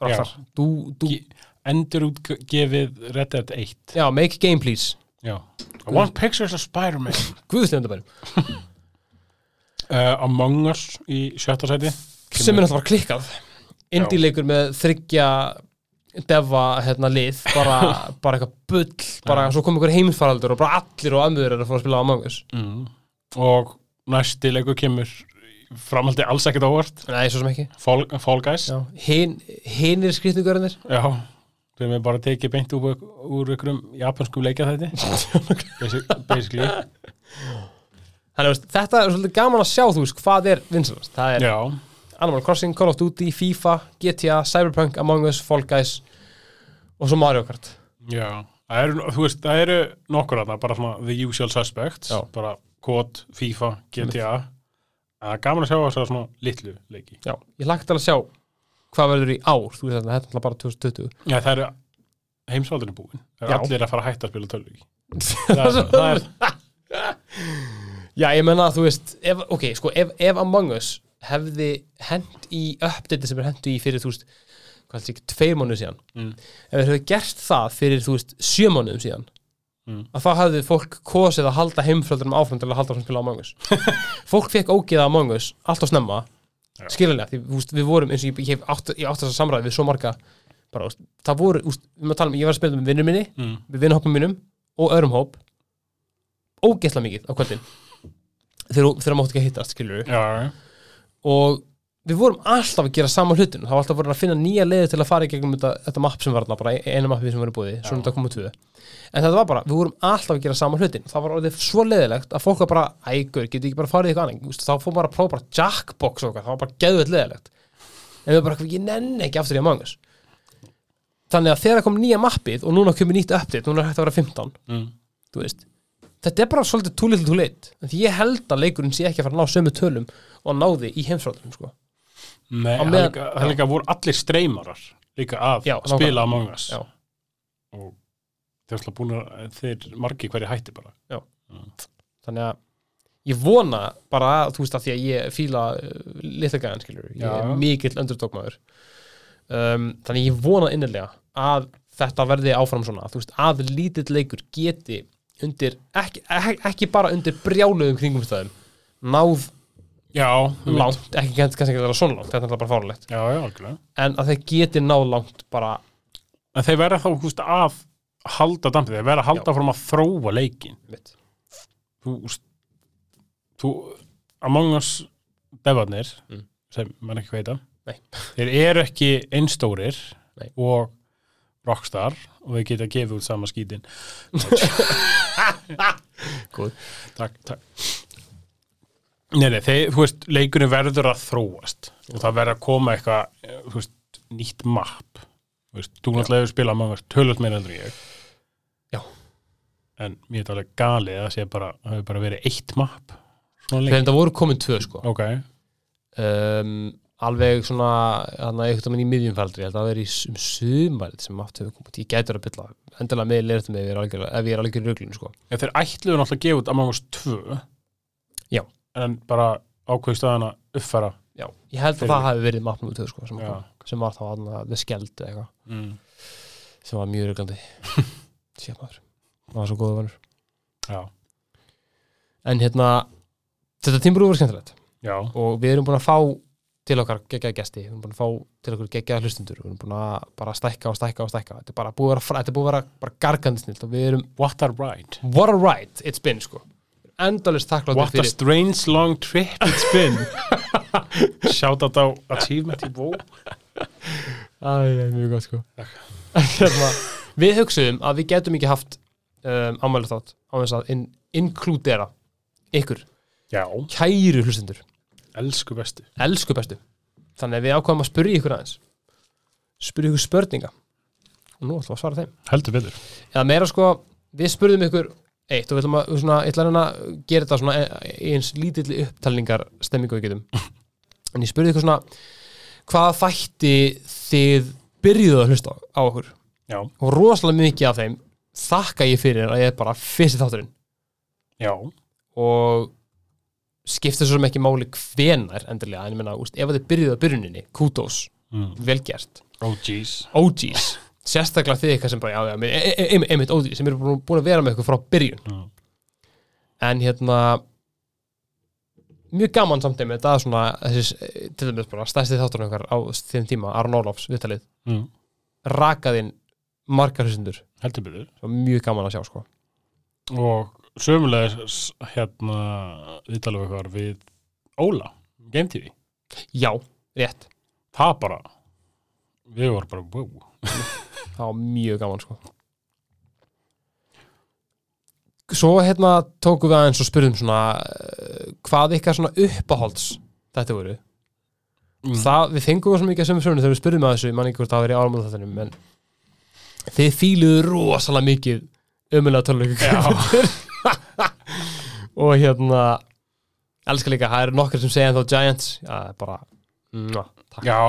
Rockstar, Já. do, do, Ge- endur útgefið Red Dead 1 já, make game please Já I want pictures of Spider-Man Guðstöndabærum, uh, Among Us í sjötta sæti sem er náttúrulega bara klikkað indie leikur með þryggja defa hérna lið bara, bara eitthvað bull bara svo kom einhver heimfaraldur og bara allir og amður er að fara að spila á Among Us mm. Og næsti leikur kemur framhaldi alls ekkert óvart Nei, svo sem ekki Fall, Fall Guys Já, Já. Hin, hinir skrýtningurinnir sem er bara tekið beint úr, úr ykkurum japanskum leikja þetta Basically Þannig að þetta er svolítið gaman að sjá þú veist hvað er vinsalast. Það er Já, Animal Crossing, Call of Duty, FIFA, GTA, Cyberpunk, Among Us, Fall Guys og svo Mario Kart. Já, það eru, þú veist, það eru nokkur aðna, bara svona the usual suspects, Já. bara COD, FIFA, GTA, það er gaman að sjá þess að svona litlu leiki. Já, ég lagt alveg að sjá hvað verður í ár, þú veist þetta, þetta er náttúrulega bara 2020. Já, það eru heimsvaldinu búin, það Já. eru allir að fara að hætta að spila tölviki. það er, það er, Já, ég menna að þú veist, ef, ok, sko, ef, ef Among Us hefði hent í update sem er hentu í fyrir, þú veist, hvað heldur ekki, tveir mánuð síðan. Mm. Ef við hefði gert það fyrir, þú veist, sjö mánuðum síðan, Mm. að þá hefði fólk kosið að halda heimfröldurum áfram til að halda áfram að spila Among Us. fólk fekk ógeða Among Us allt á snemma, Já. skiljanlega, því, þú veist, við vorum, eins og ég, ég, hef átt, ég átt þess að samræði við svo marga, bara, þú veist, það voru, þú veist, við maður tala um, ég var að spila með vinnum minni, mm, við vinnhópum mínum og öðrum hóp ógeðsla mikið á kvöldin þegar, þegar máttu ekki að hittast skilur já, og við vorum alltaf að gera sama hlutin það var alltaf voru að finna nýja leiði til að fara í gegnum þetta, þetta mapp sem var þarna, bara eina mappi sem var í búið svo þetta komið tvö en þetta var bara, við vorum alltaf að gera sama hlutin það var orðið svo leiðilegt að fólk var bara ægur, getur ekki bara farið í eitthvað annað Þú veist, þá fór bara að prófa bara jackbox og eitthvað, það var bara geðveld leiðilegt en við bara, ég nenni ekki aftur í Among Us þannig að þegar kom nýja mappið og núna kemur nýtt update, núna er hægt að vera 15 Mm. þú veist þetta er bara svolítið too little too late En því ég held að leikurinn sé ekki að fara að ná sömu tölum og náði í heimsfrátum sko. Á Nei, hann meðan- líka, hann já. líka voru allir streymarar líka af Já, nákvæmlega. spila Among Us Já. og þeir ætla búin að þeir margi hverju hætti bara þannig að ég vona bara að, þú veist að því að ég fíla uh, litla gæðan skilur, ég Já. er mikill öndurdókmaður um, þannig að ég vona innilega að þetta verði áfram svona, þú veist, að lítill leikur geti undir ekki, ekki, ekki bara undir brjáluðum kringumstæðum náð Já, já, langt, ekki kannski kannski ekki að vera svona langt þetta er bara fárlegt, já, algjörlega en að þeir geti náð langt bara, En þeir verða þá húst af halda dampið, þeir verða að halda fórum að þróa leikin mitt þú, úst, þú Among Us devarnir Mm. sem mann ekki hvað Nei. heita þeir eru ekki einstórir Nei. og rockstar og þeir geta gefið út sama skítin Góð. takk, takk Nei, nei, þeir, þú veist, leikurinn verður að þróast og það verður að koma eitthvað, eh, þú veist, nýtt mapp þú veist, þú náttúrulega hefur spilað maður tölvöld meira heldur en ég Já. en mér er þetta alveg galið að sé bara, það hefur bara verið eitt mapp svona lengi þegar þetta voru komin tvö sko Ok, um, alveg svona hann að eitthvað minn í miðjumfældri ég held að það veri um sumarið sem aftur hefur komið ég gætur að bylla, endilega með leirtum ef ég er algjör, ef ég er algjör röglun sko. ef þeir ætluðu náttúrulega að gefa út Among Us 2 Já. En bara ákveðist að hana uppfæra já, ég held að Fyrir- það hafi verið mappnum tvö sko, sem, Já. kom, sem var þá hann að við skeld eitthvað, mm. sem var mjög röglandi sér maður, það var svo góða vanur Já, en hérna, þetta tímbrú var skemmtilegt já, og við erum búin að fá til okkar geggjaða gesti, við erum búin að fá til okkar geggjaða hlustundur, við erum búin að bara stækka og stækka og stækka, þetta er bara búið að vera, fra- þetta er búið að vera bara gargandi snilt og við erum what a ride what a ride it's been sko endalist þakkláttir What a fyrir strange long trip it's been Shout out á Achievement í bó Æ, æ, mjög gott sko hérna, við hugsuðum að við getum ekki haft um, ámæli þátt á þess að in, inkludera ykkur, Já, kæru hlustendur elsku bestu elsku bestu þannig að við ákvæðum að spyrja ykkur aðeins spyrja ykkur spurninga og nú ætlum við að svara þeim Heldur betur eða meira sko, við spurðum ykkur eitt og við ætlum að, við svona, ég ætla að reyna að gera þetta svona í eins lítilli upptalningar stemmingu við getum en ég spurði ykkur svona hvaða þætti þið byrjuðu að hlusta á okkur Já, og rosalega mikið af þeim þakka ég fyrir að ég er bara fyrst í þátturinn já, og skipta svo sem ekki máli hvenar endilega, en ég menna, úst, ef þið byrjuðu að byrjuninni, kudos, mm. vel gert oh jeez OGs, sérstaklega þið eitthvað sem bara, já, já, einmitt e, e, e, einmitt OGs sem eru búin- búin að vera með ykkur frá byrjun mm. en hérna mjög gaman samt einmitt að svona þessi, eh, til dæmis bara stærsti þáttunum okkar á þeim tíma, Aron Ólafs viðtalið, Mm. rakaðinn margar hlustendur, Heldur betur svo mjög gaman að sjá sko Og sömulegis hérna við talaðum eitthvað við Óla, Game TV já, rétt, Það bara Við vorum bara, wow það var mjög gaman sko svo hérna tókum við aðeins og spurðum svona eh, hvað ykkar svona uppáhalds þetta voru Mm. það, við fengum svo mikið að sömu sömu þegar við spurðum að þessu, ég man ekki hvort það hafi verið áramöld þáttunum en þið fíluðu rosalega mikið ömulega töluleika og hérna elskar líka, það eru nokkar sem segja en þá Giants, já, það er bara Mwah, takk, Já,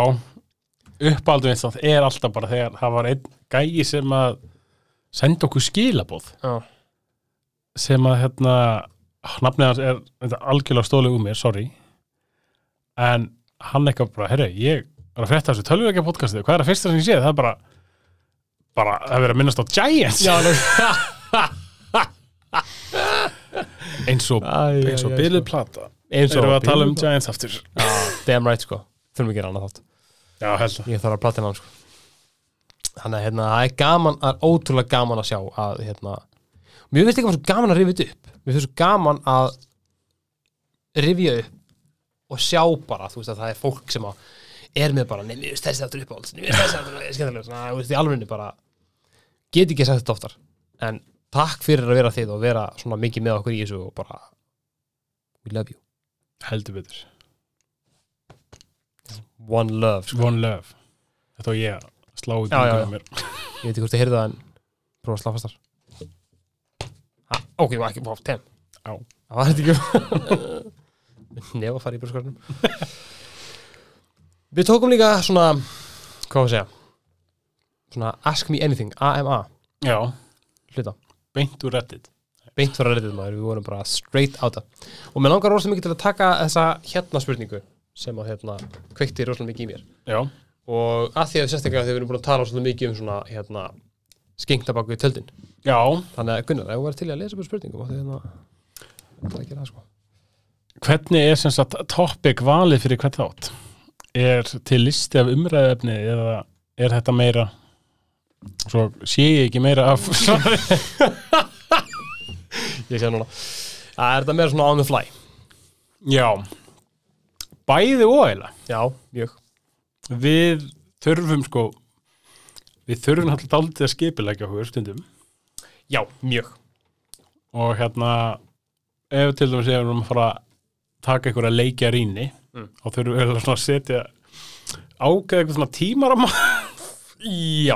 uppáldum eins og það er alltaf bara þegar það var einn gæi sem að senda okkur skilaboð já, sem að hérna, nafnið hans er þetta, er algjörlega stólið úr mér, sorry en hann eitthvað bara, herru, ég er að frétta þessu tölvuleikja podcastið, hvað er að fyrsta sem ég sé það er bara, bara það er verið að minnast á Giants já alveg. eins Æ, og, æ, eins og æ, byrjuð sko. plata eins og erum við að tala um biluð- Giants aftur Já, damn right sko, þurfum ekki að gera annað þátt Já, held að ég þarf að platina hann sko. þannig að hérna, það er gaman það er ótrúlega gaman að sjá að hérna, mér finnst ekki bara svo gaman að rifja þetta upp mér finnst svo gaman að rifja upp og sjá bara, þú veist að það er fólk sem að er með bara, nefnir þessi þáttur uppáhalds nefnir þessi þáttur skemmtilega svona, þú veist, í alvegni bara get ekki sagt þetta oftar en takk fyrir að vera þið og vera svona mikið með okkur í þessu og bara we love you, heldur betur one love sko. One Love Þetta var ég að slá í Já, já, búinu já. mér ég veit ekki hvort þið heyrðu það en prófa að slá fastar ha, ok, ég var ekki búið á Á. það var þetta ekki nefa fara í brúskarnum við tókum líka svona hvað var að segja svona ask me anything, AMA Já, hluta, beint úr reddit beint frá reddit maður, við vorum bara straight out það og mér langar rosalega mikið til að taka þessa hérna spurningu sem að hérna kveikti rosalega mikið í mér Já, og að því að sérstaklega þegar við erum búin að tala svolítið mikið um svona hérna skengtabakku í tjöldin já þannig að Gunnar, ef þú verður til í að lesa upp úr spurningum áttu hérna ætlaði að gera það sko Hvernig er sem sagt topic valið fyrir hvert þátt? Er til listi af umræðefni eða er þetta meira svo sé ég ekki meira af svari? ég sé núna, það er þetta meira svona on the fly Já Bæði og eila já, mjög Við þurfum sko við þurfum alltaf daldið að skipilegja okkur stundum já, mjög, og hérna ef til dæmis ef við erum að fara að taka einhverja leikja rýni Mm. og þurfum við svona að setja ágæða eitthvað svona tímarama já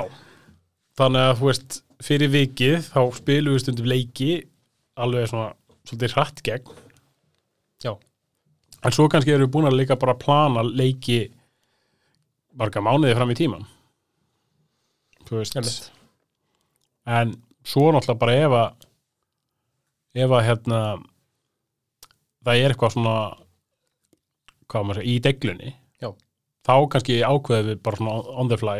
þannig að þú veist fyrir vikið þá spilum við stundum leiki alveg svona svolítið hratt gegn Já. en svo kannski erum við búin að líka bara plana leiki marga mánuði fram í tíman þú veist Einmitt. en svo náttúrulega bara ef að ef að hérna það er eitthvað svona hvað á maður að segja, í deglunni Já. þá kannski ákveðum við bara svona on the fly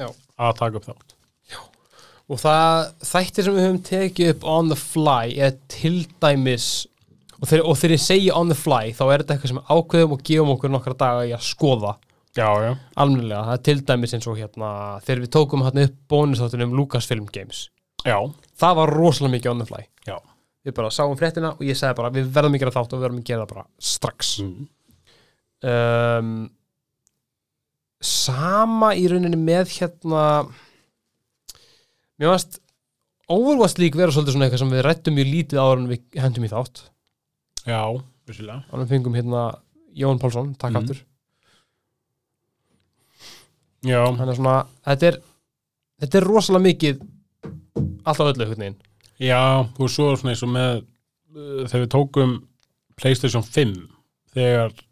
Já. að taka upp þátt og það þættir sem við höfum tekið upp on the fly er til dæmis og þegar, og þegar ég segi on the fly þá er þetta eitthvað sem við ákveðum og gefum okkur nokkra daga í að skoða já, já, almennilega, það er til dæmis eins og hérna þegar við tókum hérna upp bónusáttunum Lucasfilm Games, já, það var rosalega mikið on the fly já. við bara sáum fréttina og ég sagði bara við verðum að gera þátt og við verðum að gera það bara strax Mm. um, sama í rauninni með hérna mér varst Overwatch lík vera svolítið svona eitthvað sem við rættum mjög lítið áður en við hendum í þátt já, vissulega og við fengum hérna Jón Pálsson, takk Mhm. aftur já, hann er svona, þetta er þetta er rosalega mikið alltaf öllu einhvern veginn já, þú veist, svo er svona eins og með uh, þegar við tókum Playstation 5 þegar uh,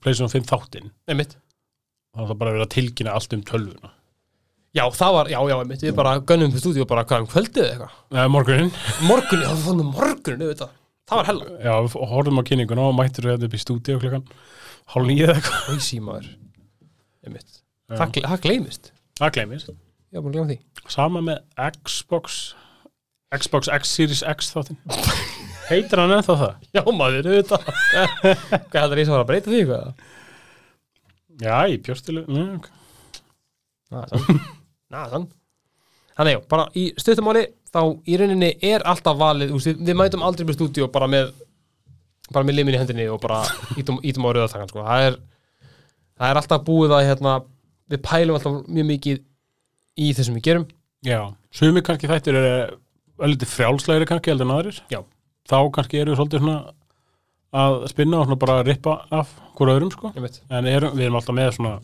Playstation 5 þáttinn einmitt. þá er það bara verið að tilkynna allt um tölvuna já, það var, já, já, einmitt, við bara gönnum fyrir stúdíu og bara hvað um kvöldið eða eitthvað eða morgunin, morgun, já, við fannum morgun, auðvitað það var hella, já, við horfum á kynninguna og mættir við þetta upp í stúdíu klukkan hálf nýja eða eitthvað hausi maður einmitt, Já. það, gle- það gleymist það gleymist, já, búin að gleyma því sama með Xbox Xbox X Series X þáttinn heitir hann ennþá það? Já maður, auðvitað Hvað heldur ég sem var að breyta því eitthvað? já, í bjóstilu, mm, ok Næsan Næsan Þannig, já, bara í stuttumáli þá í rauninni er alltaf valið úst, við mætum aldrei með stúdíu bara með bara með limin í hendinni og bara ítum, ítum á rauðatakan sko. það, er, það er alltaf búið að hérna, við pælum alltaf mjög mikið í þessum við gerum Já, sumi kannski þættir eru öllítið frjálslegri kannski heldur en aðrir Já. Þá kannski eru við svolítið svona að spinna og svona bara að rippa af hver öðrum sko einmitt. En erum, við erum alltaf með svona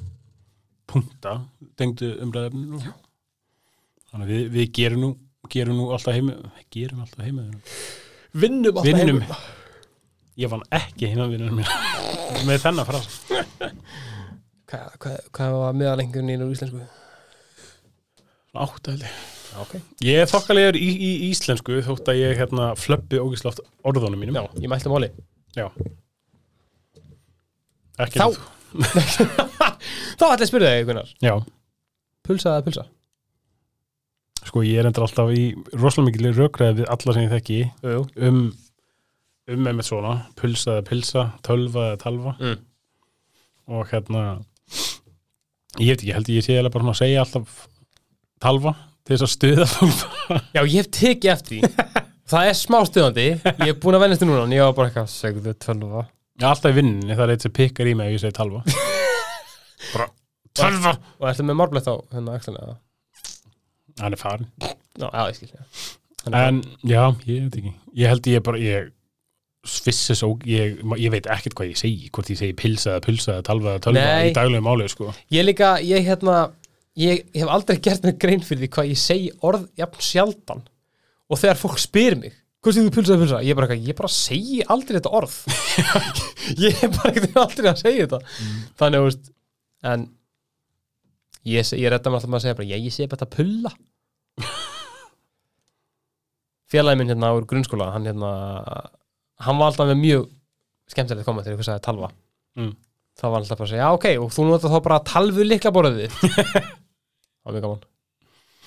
punta tengdu umræðefninu Já Þannig að við, við gerum nú, gerum nú alltaf heima Gerum alltaf heima hérna. Vinnum alltaf Vinnum heima. Ég vann ekki heima vinnum mér Með þennan frás Hvað hva, hva var meðalengurinn í nú íslensku? Áttæli Okay. Ég er þokkalegur í, í íslensku þótt að ég hérna flöppi ógislátt orðunum mínum Já, ég mælti máli Já Ekki Þá- neitt. Þá ætla ég að spyrja þig, Gunnar Já, Pulsa eða pulsa? sko ég er endur alltaf í rosalega mikil rökræði við alla sem ég þekki Jú, jú um, um einmitt svona, pulsa eða pilsa, tölva eða talva Mm. og hérna ég veit ekki, ég held ég sé eða bara svona að segja alltaf talva til þess að stuða fólk Já, ég hef tekið eftir því Það er smá stöðandi Ég hef búin að vennast þér núna en Ég var bara eitthvað Segðu tölva Ég er alltaf í vinninni, það er eitt sem pikkar í mig ef ég segi talva Bara, talva Og ertu með marblett á hérna axlina? eða? Hann er farin Já, já, ég skil já. Hann er En, já, ég veit ekki Ég held ég bara, ég svissi svo, ég, ég veit ekkert hvað ég segi hvort ég segi pilsa eða pulsa eða talva eða tölva Nei. í daglegu máli, sko Ég líka, ég hérna ég hef aldrei gert mér grein fyrir því hvað ég segi orð jafn sjaldan og þegar fólk spyr mig hvað segir þú pulsa að pulsa? Ég er bara, eitthvað, ég bara segi aldrei þetta orð ég er bara ekkert aldrei að segja þetta Mm. þannig að, þú veist, en ég, seg- ég redda mér alltaf með að segja bara, ég, ég segi bara þetta pulla félagi minn hérna úr grunnskóla hann hérna, hann var alltaf með mjög skemmtilegt komment þegar ég sagði talva Mm. það var alltaf bara að segja, já ok og þú notar þá bara talvu líkla borðið það var mjög gaman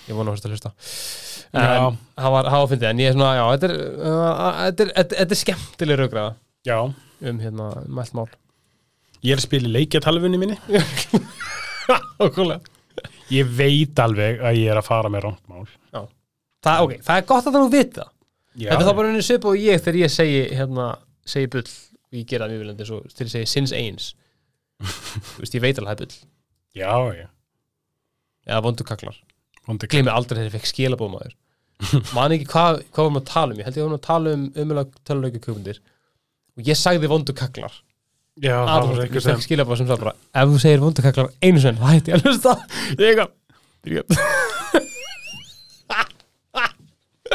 ég vona að þetta hlusta Já. en það var, það var fyndið en ég er svona, já, þetta er, uh, þetta er, þetta, þetta er skemmtileg raugraða Já, um hérna mælt mál ég er að spila í leikjatalfunni minni Ókúrlega. Ég veit alveg að ég er að fara með rámt mál það, okay, það er gott að það nú vita Já, þetta er þá bara einu svip og ég þegar ég segi hérna, segi bull og ég gera það mjög viljandi svo til að segja sinns eins Þú veist, ég veit alveg það er bull já, já. eða vondu kaklar Vondi- gleymi aldrei þegar ég fekk skilabóð maður man ekki hvað hva við varum að tala um ég held ég varum að tala um umjöðlega töluleika kjöfundir og ég sagði vondu kaklar já það var Adolf, ég eitthvað sem fekk skilabóð sem sagði bara ef þú segir vondu kaklar einu sen það hætti ég að hlusta ég eitthvað Byrjað.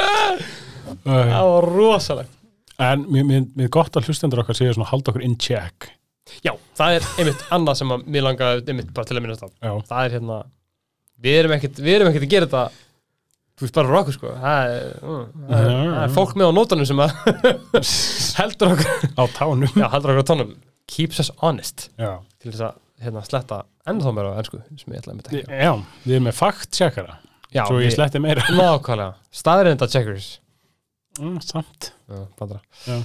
Æ. það var rosalegt En mér, mér, mér er gott að hlustendur okkar séu svona halda okkur in check já, það er einmitt annað sem að mér langaði einmitt bara til að minnast á Já, það er hérna við erum ekkert, við erum ekkert að gera þetta þú veist bara fyrir okkur sko það er, mm, það er, það er fólk með á nótunum sem að heldur okkur á tánum já, heldur okkur á tónum keeps us honest Já, til þess að hérna, sletta ennþá meira á ennsku sem ég ætla að mynda ekki já við erum með fakt checkara já, Svo ég sletti meira nákvæmlega, staðrenda checkers mm, Samt já, bandra Já.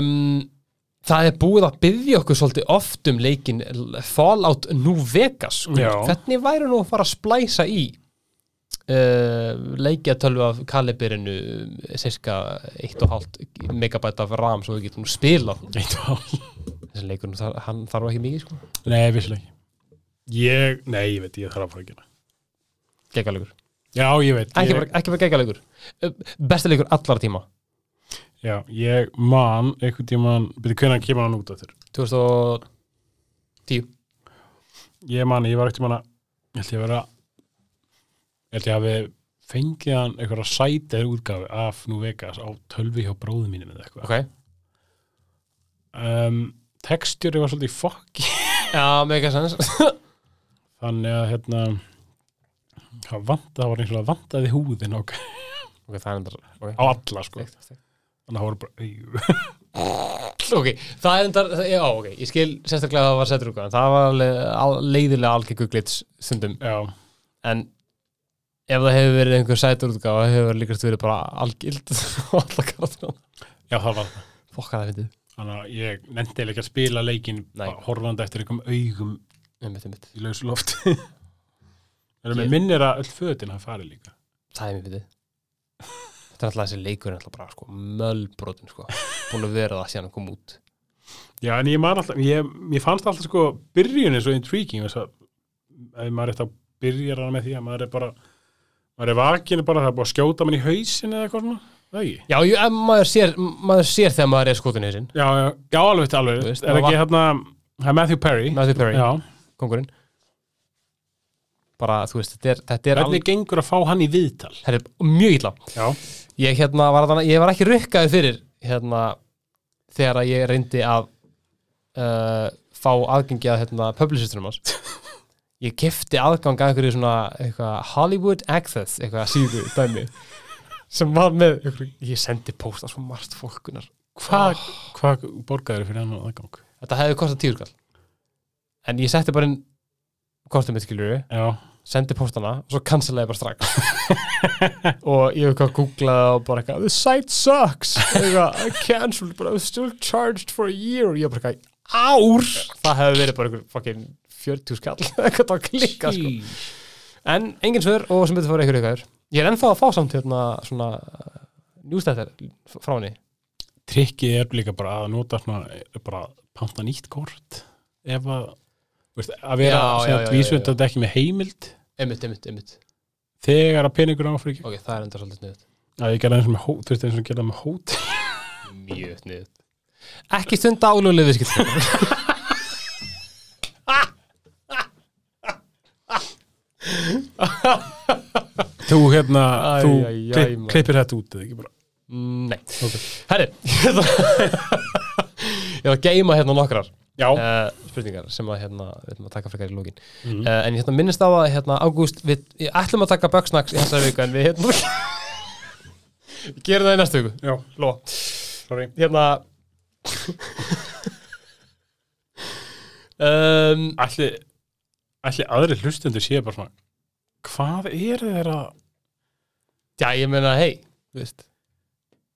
um, það er búið að byggja okkur svolítið oft um leikin Fallout New Vegas sko. Já. hvernig væri nú að fara að splæsa í uh, leikjatölvu af eh, kalibirinu cirka 1,5 megabæt af RAM svo við getum spilað Eitt og hálf þessi leikur, nú þar- hann þarf ekki mikið sko. Nei, visslega ekki Ég, nei, ég veit, ég þarf að fara að gera geggaleikur, Já, ég veit ekki, ég, bara- ekki bara geggaleikur Uh, besti leikur allara tíma Já, ég man, einhvern tímann Byrðu, hvernig kemur hann út á þér? 2010 Ég man, ég var ekkert manna Ég held ég að vera Ég held ég hafi fengið hann einhverja sætið útgáfi af Nú Vegas á tölvi hjá bróðum mínum eða eitthvað ok, um, Textjöri var svolítið í fokki já, mega sens þannig að hérna það vant, það var eins og það vantaði húðin ok, ok, það er endar okay. á alla sko Steikt, steikt. þannig að það voru bara ok, það er endar það- já, ok, ég skil sérstaklega að það var settur út en það var alveg al- leiðilega algengu glits stundum, já, en ef það hefur verið einhver sætur útgáfa það hefur líkast verið bara algild og alla karatuna já, það var það fokka það fyndið, þannig að ég nefndi eiginlega ekki að spila leikin Nei. bara horfandi eftir einhverjum augum einmitt, einmitt í lausu loft það er Ég- með minnir að öll fötin hafa farið líka það er mér fyndið þetta er alltaf þessi leikur er alltaf bara sko, mölbrotin sko, búin að vera það síðan að koma út já, en ég man alltaf, ég, ég fannst alltaf sko byrjunin svo intriguing þess að ef maður er eftir að byrja hana með því að maður er bara maður er vakinu bara, það er búið að skjóta mann í hausin eða eitthvað svona, það ekki já, jú, en maður sér, maður sér þegar maður er skotin í þessinn, Já, já, já, alveg, þetta, alveg Þú veist, Er það ekki hérna, það er Matthew Perry Matthew Perry, Já, kongurinn bara, þú veist, þetta er, þetta er hvernig gengur að fá hann í viðtal Það er mjög illa. Já, Ég, hérna, var, þarna- ég var ekki rukkaði fyrir hérna, þegar að ég reyndi að uh, fá aðgengi að hérna, publicistunum hans. Ég kefti aðgang að einhverju svona eitthvað, Hollywood Access, eitthvað síðu dæmi, sem var með einhverju, ég sendi pósta svo margt fólkunar. hvað hva borgaður fyrir hann aðgang? Þetta hefði kostað tíu skall. En ég setti bara inn kortum mitt skiljuru Já, sendi postana og svo cancelaði ég bara strax og ég hef eitthvað googlaði og bara eitthvað, the site sucks eitthvað, I cancelled but I was still charged for a year og ég bara eitthvað, ár það hefði verið bara einhver fucking 40 skall eitthvað að klikka sko. Jeez. en engin svör og sem betur fór einhver eitthvað ég er ennþá að fá samt hérna svona njústættir uh, frá henni trikkið er líka bara að nota svona, bara panta nýtt kort ef að veist, að vera Já, já, já, já, já. vísvönd að þetta er ekki með heimild einmitt, einmitt, einmitt þegar að peningur áfyrir ekki ok, það er enda svolítið sniðut að ég gerði eins og með hót, þú veist eins og gerði það með hót mjög sniðut ekki stunda áluglega viðskipt þú hérna, Æ, þú æ, æ, klipp- maður. klippir þetta út eða ekki bara nei, okay. herri ég var að geima hérna nokkrar já, uh, spurningar sem að hérna, við ætlum að taka frekar í lókin Mhm. uh, en ég hérna minnist á að hérna, Ágúst, við ég ætlum að taka Bugsnax í þessari viku en við hérna við gerum það í næstu viku já, Lóa, sorry hérna um, ætli, ætli aðri hlustundur séu bara svona hvað er þeirra já, ég meina, hei þú veist,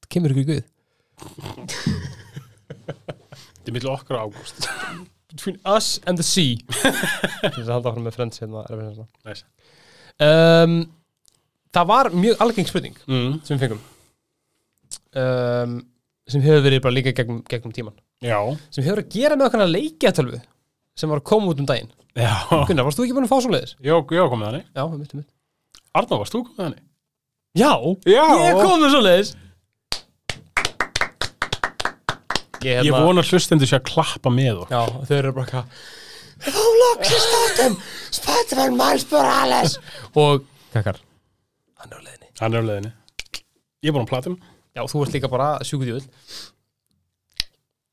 það kemur ykkur í guð þetta er milli okkar og ágúst between us and the sea til þess að halda áfram með friends hérna, erfið hérna. Nice. um, það var mjög algeng spurning mm. sem við fengum um, sem hefur verið bara líka gegnum, gegnum tíman já, sem hefur að gera með okkur að leikja tölvu sem var að koma út um daginn já, Gunnar, varst þú ekki búin að fá svo leiðis? já, já komið þannig Já, mitt, mitt. Arna, varst þú komið þannig? Já, Já, ég kom með svo leiðis Ég, hérna- ég vona að hlustendur sé að klappa með okkur Já, þau eru bara eitthvað Þá loksist þáttum Spiderman Miles Morales Og Kakkar Hann er á leiðinni hann er á leiðinni ég er búin að platum Já, þú ert líka bara sjúkudjúvel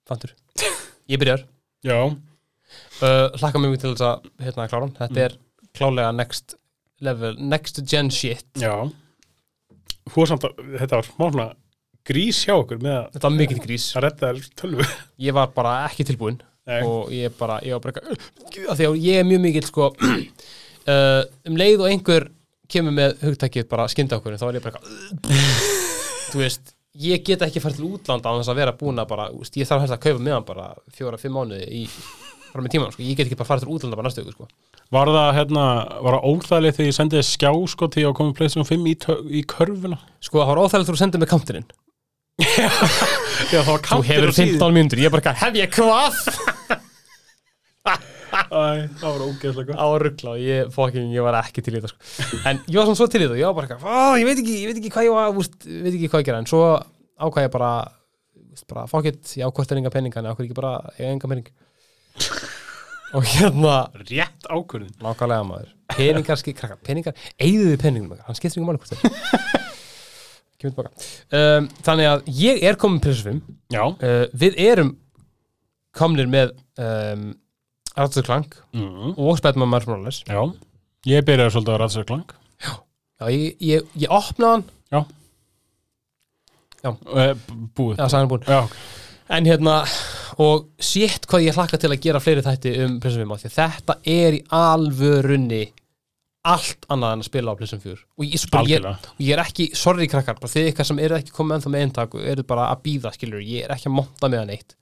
Fantur Ég byrjar já, uh, hlakka mjög mikið til þess að hérna klára hann þetta er klálega next level, next gen shit já þú er samt að þetta var smá svona grís hjá okkur með að þetta var mikið grís, að redda þér tölvu ég var bara ekki tilbúinn Nei. og ég bara, ég var bara eitthvað- af því að ég er mjög mikið sko uh, um leið og einhver kemur með hugtækið bara skynda okkur þá er ég bara eitthvað þú veist, ég get ekki fært til útlanda á þess að vera búin að bara, þú veist, ég þarf helst að kaupa meðan bara fjóra, fimm mánuði í bara með tímann, sko, ég get ekki bara farið til útlanda bara næstu ykkur, sko Var það hérna, var það óþægilegt þegar ég sendið skjá sko til ég að koma í Playstation 5 í, tö- í körfuna? sko, það var óþægilegt þú sendið með kantininn Já, það var þú hefur 15 mínútur, ég bara, eitthvað, hef ég hvað? Æ, það var ógeðslega gott. á ruggla og ég, fokkin, ég var ekki til í þetta sko. en ég var svona svo til í þetta, ég var bara eitthvað, "Ó, ég veit ekki, ég veit ekki hvað ég var úst, veit ekki hvað ég gera, en svo ákvað ég bara, úst, bara fokkitt, ég ákvæmt er enga pening, en ákvæmt ekki bara, ég er enga pening og hérna Rétt ákvörðin. nákvæmlega maður, peningar skil, krakkar peningar, eigðu þið peningum, maður. hann skiptir ekki máli hvort það er. kemur tilbaka um, þannig að ég er komin pressufum Já. uh, við erum komnir með um, Arthur Klang Mm. og Spedman Mars Morales Já. Ég byrjaði svolítið að ræðsa klang. Já, ég, ég, ég opnaði hann Já. Já. Eh, b- Búið. Já, sagði hann búinn Já, ok. En hérna, og sétt hvað ég hlakka til að gera fleiri þætti um Plissum 5 af Því að þetta er í alvörunni allt annað en að spila á Plissum 4 Og ég, svo bara, ég, Algjörlega. og ég er ekki, sorry krakkar, bara þið ykkar sem eru ekki komið ennþá með eintaku Eru bara að býða, skilur, ég er ekki að monta með hann eitt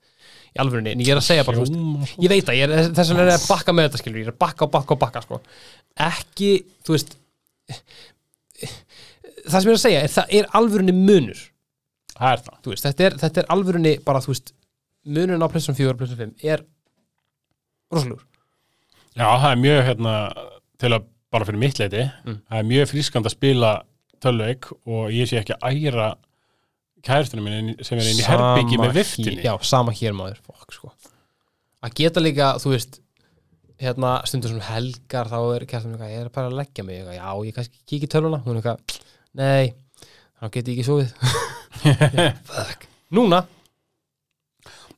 Í alvörunni, en ég er að segja bara, þú veist Hljóma svo. ég veit að ég er, þess vegna er ég að bakka með þetta skilur, ég er að bakka og bakka og bakka sko. ekki, þú veist það sem ég er að segja er, það er alvörunni munur Það er það. þú veist, þetta er, þetta er alvörunni bara, þú veist, munurinn á Playstation 4 og Playstation 5 er rosalugur Já, það er mjög hérna, til að bara fyrir mitt leiti, Mm. það er mjög frískand að spila tölveik og ég sé ekki að æra kærtunum minn sem er inn í herbyggi með viftinni. já, sama hér maður, fokk sko að geta líka, þú veist hérna, stundur sem helgar þá er kjæstum eitthvað, ég er bara að leggja mig eitthvað, já, ég kannski kíkja í tölvuna, hún er eitthvað nei, þá get ég ekki sofið Fuck. núna,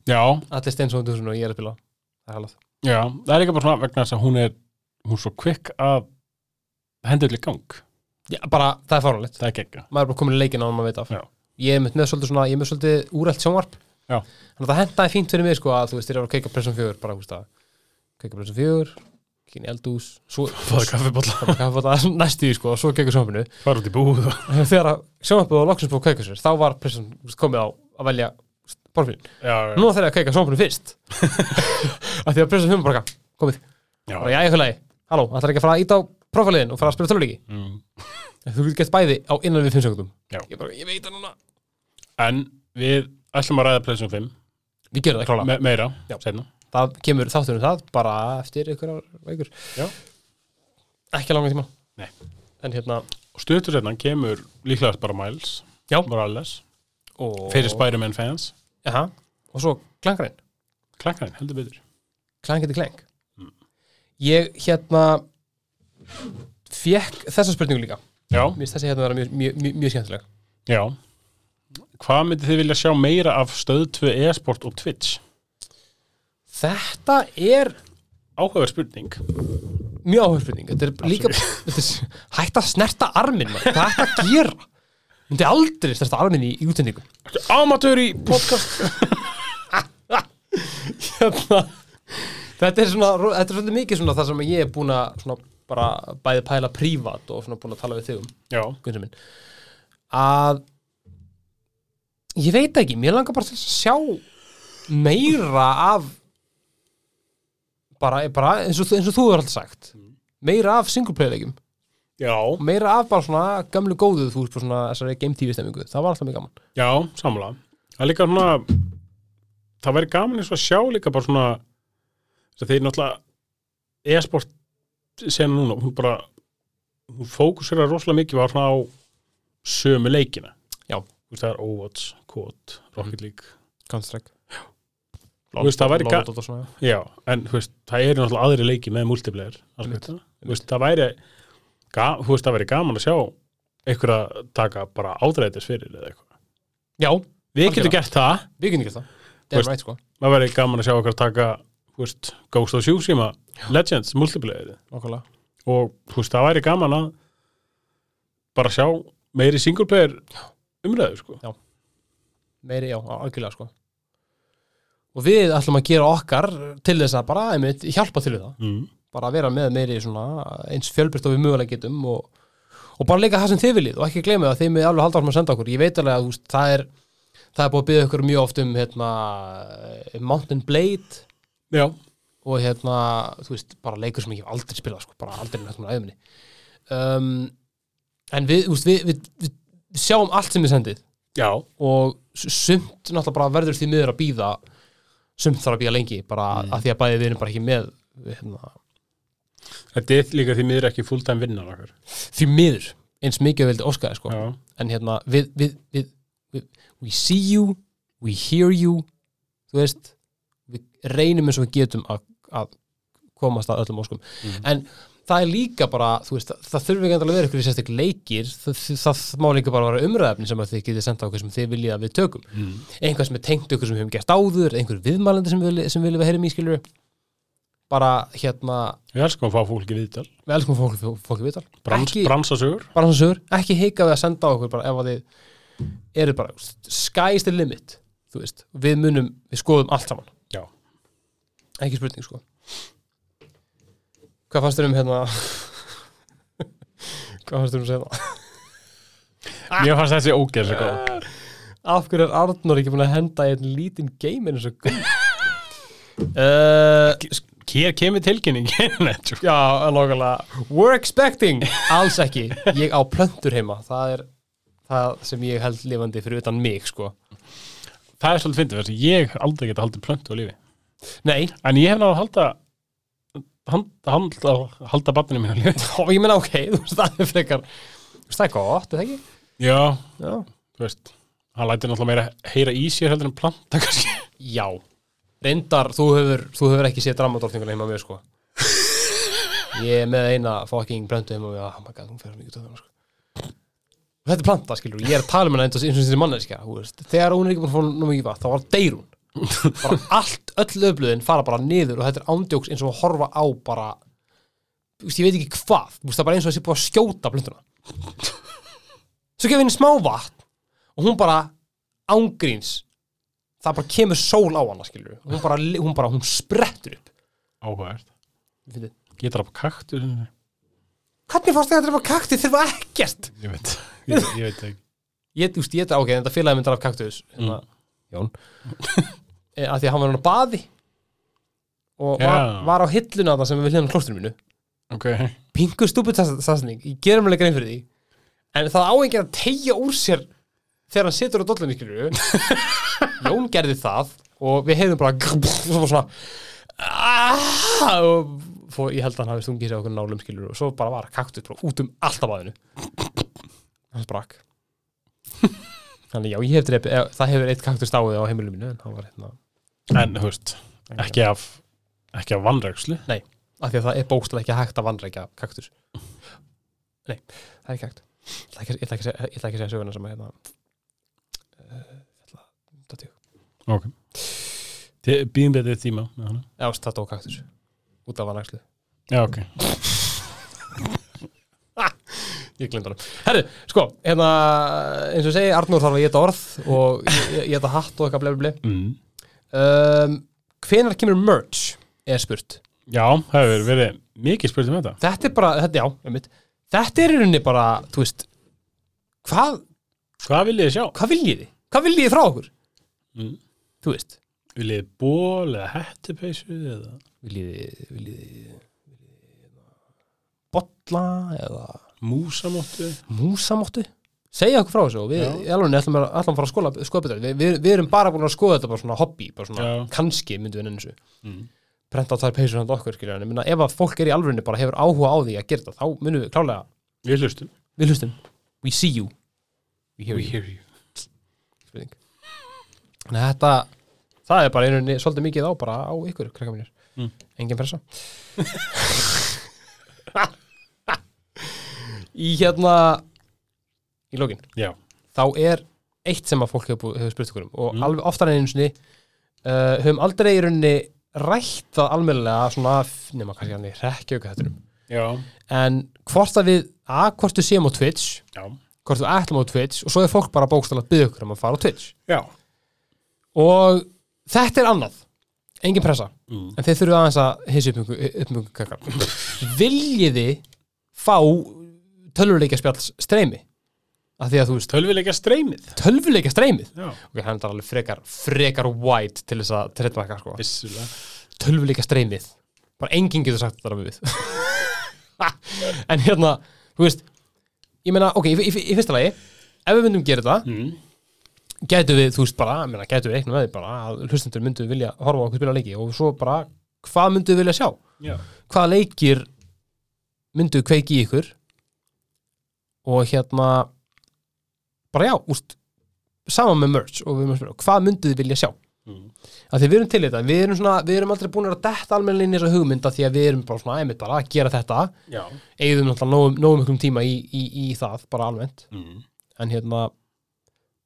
Já, allir steins og og ég er að spila það er halað Já, það er líka bara svona vegna þess að hún er hún er svo kvikk að hendur allir gang, já, bara, það er fáránlegt það er gegga maður er bara komin í leikin á hann maður veit af Já. ég er með, með svolítið svona, ég er með svolítið úrælt sjónvarp Já. þannig að það hentaði fínt fyrir mig sko að þú veist, þeir eru að keika pressum fjögur bara, húst að keika pressum fjögur kynni eldús, svo Fáðu kaffibólla kaffibólla, næstu í sko og svo keika sjónvarpinu Fara út í búð og... þegar að sjónvarpið var loksins búið að keika sér þá var pressum komið á að velja borfin, Já, nú þegar að keika sjónvarpinu fyrst af því að pressum fjögur bara komið, já, bara já, ég hulagi halló, ætlar ekki að fara að íta á profiliðin og fara að spila tölulíki Mm. Þú getur gett bæði á innan við 5 sekundum Já. Ég bara, ég veit það núna En við ætlum að ræða Playstation 5 Við gerum það klála Me meira, Já. seinna Það kemur þáttur um það bara eftir einhverjar veikur Já. Ekki langan tíma Nei. En hérna og stuttur seinna kemur líklegast bara Miles Já. Morales, og, fyrir Spider-Man fans Jaha. Og svo klangarinn klakkarinn, heldur betur Klang getur klang Mm. Ég hérna Fjekk þessa spurningu líka Já, Mér finnst þessi hérna vera mjög, mjög, mjög, mjög skemmtileg já Hvað myndið þið vilja sjá meira af stöð 2 e-sport og Twitch? Þetta er Áhugaverð spurning mjög áhuga spurning Þetta er líka þetta er, Hætt að snerta arminn maður. Hvað er þetta að gera? Myndi aldrei snerta arminn í, í útendingu Amateur í podcast hérna, Þetta er svona Þetta er svolítið mikið svona það sem ég er búin að svona bara bæði pæla prívat og svona búin að tala við þig um Já, Gunnsa minn að ég veit ekki, mér langar bara til að sjá meira af bara, bara eins, og, þú- eins og þú er alltaf sagt meira af singleplaylegjum já, og meira af bara svona gamlu góðu þú veist bara svona þessari game tv stemmingu það var alltaf mjög gaman já, samla Það er líka svona Það væri gaman eins og að sjá líka bara svona þess að þeir náttúrulega e-sport sena núna, hún bara hún fókusera rosalega mikið var svona á sömu leikina Já. Þú veist, Það er Overwatch, Kod, Rocket League Counter-Strike Þú veist, það væri ga- og svona Já, en þú veist, það eru náttúrulega aðri leiki með multiplayer allt Einmitt, þetta. Þú veist, það væri ga, þú veist, það væri gaman að sjá einhver að taka bara ádreitis fyrir eða eitthvað. Já, Við Algjörlega. getum gert það, við getum ekki það Þú Damn veist- right sko það væri gaman að sjá einhver að taka þú veist, Ghost of Tsushima Legends, multiplayer Nákvæmlega og þú veist, það væri gaman að bara sjá meiri single player umræðu, sko. Meiri, já, á- algjörlega sko Og við ætlum að gera okkar til þess að bara, einmitt, hjálpa til við það Mm. bara að vera með meiri svona eins fjölbreytt og við mögulega getum og, og bara leika það sem þið viljið og ekki glemja að þið með alveg halda áfram að senda okkur ég veit alveg að þú veist, það er það er búið að byggja okkur mjög oft um hérna, Mountain Blade Já, og hérna, þú veist, bara leikur sem ég hef aldrei spilað sko, bara aldrei nættum að æfminni um, en við, þú veist, við, við, við, við sjáum allt sem við sendið já, og s- sumt náttúrulega bara verður því miður að býða sumt þarf að býða lengi bara mm. að því að bæði við erum bara ekki með hérna, þetta er líka því miður ekki fulltime vinnan okkar. því miður eins mikið og vildi óskaði sko. Já, en hérna við, við, við, við we see you, we hear you þú veist við reynum eins og við getum að, að komast að öllum óskum Mhm. en það er líka bara, þú veist það, það þurfi ekki endalega að vera ykkur í sérstak leikir það, það, það má líka bara vera umræðefni sem að þið getið senda okkur sem þið viljið að við tökum mm. einhvað sem er tengt okkur sem við höfum gert áður einhver viðmælandi sem við, sem við viljum að heyrum í skilur bara hérna við elskum að fá fólki viðtal. við elskum fólk, fólk viðtal Brans, Ekki- bransasögur. bara svona sögur, ekki hika við að senda á okkur bara ef að þið eru bara sky's the limit, þú veist við munum, við skoðum allt saman Já. ekki spurning sko hvað fannst þér um hérna hvað fannst þér um segna Mér fannst þessi ógeð svo góð. af hverju er Arnór ekki búin að henda í einn lítinn geiminn eins og guð uh, Hér kemur tilkynningin Netjú. já, nákvæmlega we're expecting, alls ekki ég á plöntur heima, það er það sem ég held lifandi fyrir utan mig sko, Það er svolítið fyndið þess að ég hef aldrei geta haldið plöntu á lífi nei En ég hef náttúrulega að halda hand, halda, halda barninu mínu á lífi og ég meina ok, þú veist það er frekar þú veist það er gott, er það ekki? Já, Já. þú veist Hann lætur náttúrulega meira heyra í sér heldur en planta kannski Já, reyndar, þú hefur, þú hefur ekki séð dramadorfninguna heima á mér sko Ég er með eina fucking plöntu heima á mér, oh my god, hún fer mikið töðum sko. Og Þetta er planta, skilur, ég er að tala um hana eins og eins og þessi manneskja, þú veist Þegar hún er ekki búin að fá nú mikið vatn, þá var deyr hún bara allt, öll öflöðin fara bara niður og þetta er ándjóks eins og að horfa á bara, þú veist, ég veit ekki hvað þú veist, það er bara eins og þessi búið að skjóta plöntuna Svo gefið henni smá vatn og hún bara ángríns það bara kemur sól á hana skilur hún bara, hún bara, hún sprettur upp Áhugavert Fyndið. Ég draf kaktur hvernig fórst þið að drepa kaktið þurfa ekkert Ég veit, ég, ég veit ekki ég, þú veist, ég þetta, ok, þetta félagi myndar af kaktus hérna, Mm. Jón e, að því að hann var hann á baði og var, Já. var á hilluna það sem við hliðum klóstunum mínu Ok pingu stúpid sassning, ég gerum alveg grein fyrir því en það á ekki að tegja úr sér þegar hann situr á dollunni skilur Jón gerði það og við hefðum bara og svona "Ah!" og fó, ég held að hann hafi stungið sér okkur nálum skilur og svo bara var kaktus bara út um allt af aðinu hann sprakk þannig já, ég hef dreipið eh, það hefur eitt kaktus dáið á heimilu mínu en hann var hérna en þú veist, ekki af ekki af vannregslu af því að það er bókstæð ekki hægt að vanrækja kaktus Nei, það er ekki hægt Ég ætla ekki, ég ætla ekki, að segja- ég ætla ekki að segja söguna sem að hérna uh, ætla, það, ok býðum betið tíma með hana. Jást, það dó kaktus út af vanrækslu já ok, Ég glemt honum Herru, sko, hérna eins og ég segi, Arnór þarf að geta orð og ég- ég ég geta hatt og eitthvað blei blei mm. um, Hvenær kemur merch? er spurt já, það hefur verið mikið spurt um þetta Þetta er bara, þetta, já, einmitt Þetta er í rauninni bara, þú veist Hvað, hvað viljið þið sjá? hvað viljið þið? Hvað viljið þið frá okkur? Mm. Þú veist viljið þið ból eða hettupeysu eða Viljiði, viljiði hérna, Bolla eða músamóttu Músamóttu Segja okkur frá þessu og við Já. alveg ætlum að, ætlum að fara að skoða, skoða betur við, við, við erum bara búin að skoða þetta bara svona hobby bara svona, Já. kannski myndum við nenni þessu Mm. prenta þær peysur hann okkur skilja en ég meina, ef að fólk er í alvörinni bara hefur áhuga á því að gera þetta þá munum við klálega við hlustum við hlustum We see you We hear you hear you Spurning. Þannig að þetta það er bara einhvernig svolítið mikið á bara á ykkur krakka mínir Mm. engin pressa í hérna í lokin já, þá er eitt sem að fólk hefur, bú- hefur spurt okkur um og Mm. alveg oftar en einu sinni uh, höfum aldrei í rauninni rætt það almennilega svona f- nema kannski hann í rekkjöku þettunum já, en hvort að við að hvort við séum á Twitch já hvort við ætlum á Twitch og svo er fólk bara bókstæla að byggja okkur um að fara á Twitch já, og þetta er annað engin pressa, mm. en þeir þurfum aðeins að um hissi uppmöngu kakar viljiði fá tölvuleikja spjalls streymi af því að þú veist, tölvileika streymið tölvuleikja streymið já, ok, hann er þetta alveg frekar, frekar white til þess að trettmarka sko vissulega tölvuleika streymið, bara enginn getur sagt þetta við við en hérna, þú veist ég meina, ok, í, í, í fyrsta lagi ef við myndum gera þetta mm. gætu við, þú veist bara, ég meina, gætu við eitthvað með því bara að hlustendur myndu vilja horfa á okkur spila leiki og svo bara, hvað myndu vilja sjá? já, Hvaða leikir myndu kveiki í ykkur og hérna bara já, úst saman með merch og við erum að spila hvað myndu þið vilja sjá? mm. Af því við erum til í þetta, við erum svona, við erum aldrei búin að detta almennilega inn í þessa hugmynda því að við erum bara svona, einmitt bara að gera þetta já eigðum náttúrulega nógum, nógum miklum tíma í, í, í það, bara almennt mm. en hérna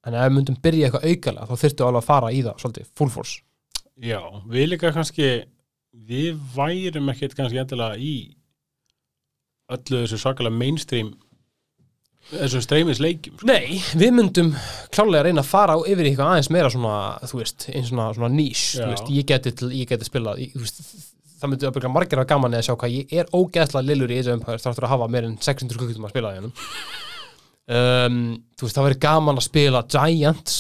en ef við myndum byrja eitthvað aukalega þá þyrftu alveg að fara í það, svolítið, full force Já, við líka kannski við værum ekkert kannski endilega í öllu þessu svakalega mainstream þessu streymisleikjum sko. Nei, við myndum klálega reyna að fara á yfir í eitthvað aðeins meira svona, þú veist, eins svona, svona nýs, þú Já. veist, ég geti, til, ég geti spilað, ég, þú veist, það myndi að byrja margir að gaman eða sjá hvað ég er ógeðslega lillur í þessu umpire, þáttur að hafa meir en 600 klukkutum að spila í hennum um, þú veist, það verið gaman að spila Giants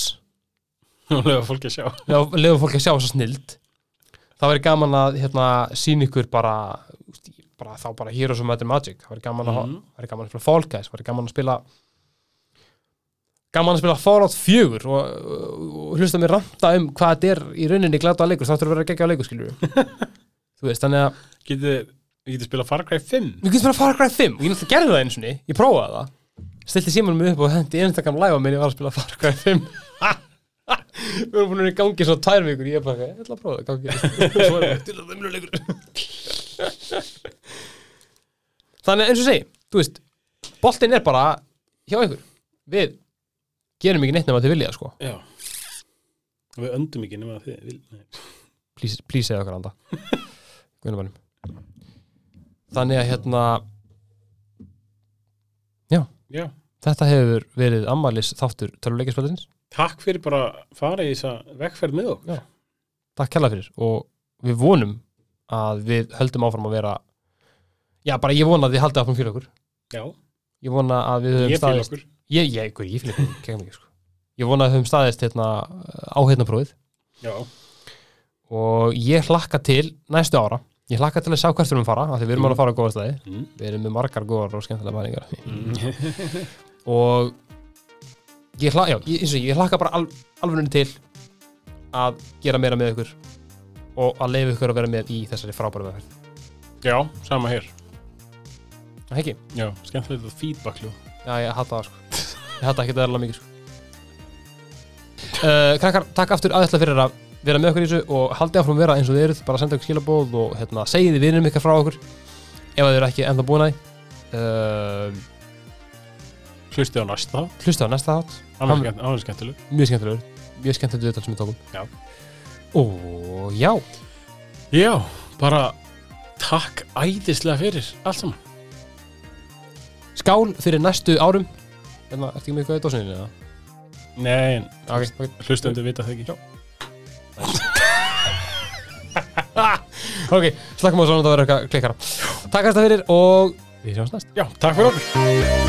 og lefa fólki að sjá lefa fólk að sjá þessa snild það væri gaman að hérna, sín ykkur bara, úst, ég- bara þá bara Heroes of Matter Magic það væri gaman, mm Mhm. væri gaman að spila Fall Guys það væri gaman að spila gaman að spila Fallout 4 og, og, og hlusta mér ranta um hvað þetta er í rauninni glata leikur, það þurfur að vera geggja leikur skilur þú veist, þannig að Getið getið spilað Far Cry 5 við getum bara Far Cry 5 og ég náttúrulega gerði það einu sinni, ég prófaði það stilti símanum upp og hendi einstakam læfa minn ég var að spila Far Cry 5 við erum búin að vera í gangi svona tvær vikur ég er bara, ég ætla að prófa það gangi svo erum við til að það umlega leikur þannig að eins og ég segi, þú veist boltinn er bara hjá ykkur við gerum ekki neitt nema til vilja sko Já Og Við öndum ekki nema þið vil, nei. please, please segja okkar anda Guðnabænum þannig að hérna Já, þetta hefur verið ammalis þáttur töluleikjaspöldins takk fyrir bara að fara í þessa vegferð með okkur Já. takk kella fyrir og við vonum að við höldum áfram að vera já bara ég vona að þið haldið áfram fyrir okkur Já, ég vona að við höfum ég fíl okkur ég, ég, guð, ég fyrir okkur kegum ekki sko ég vona að við höfum staðist hérna á hérna prófið Já, og ég hlakka til næstu ára ég hlakka til að sjá hvert við erum að fara af því við erum alveg að fara á góða staði mm. við erum með margar góðar og skemmtilega bæringar Mm. og ég, hla, já, ég, eins og ég, ég hlakka bara al, alveg til að gera meira með ykkur og að leifa ykkur að vera með í þessari frábæru meðferð Já, sama hér Það ekki? Já, skemmtilegt að feedback ljú Já, ég hata það sko Ég hata ekki það erlega mikið sko uh, Krakkar, takk aftur aðeinslega fyrir að vera með okkur í þessu og haldið áfram að vera eins og þið eruð bara senda okkur skilabóð og hérna, segið þið vinum ykkar frá okkur ef að þið eru ekki enda búin að því uh, Hlustið á næsta þá, Hlusta á næsta þátt hann Hann- er skemmt- hann er skemmtileg Mjög skemmtilegur, mjög skemmtilegur þetta sem við tókum Já. Og já, Já, bara takk æðislega fyrir allt saman skál fyrir næstu árum Hérna, ertu ekki með eitthvað í dósinni eða? Nei, Ok, ok hlustendur vita það ekki Ok, slakkum á svona, það verður eitthvað klikkara Takk að þetta fyrir og við sjáumst næst Já, takk fyrir okkur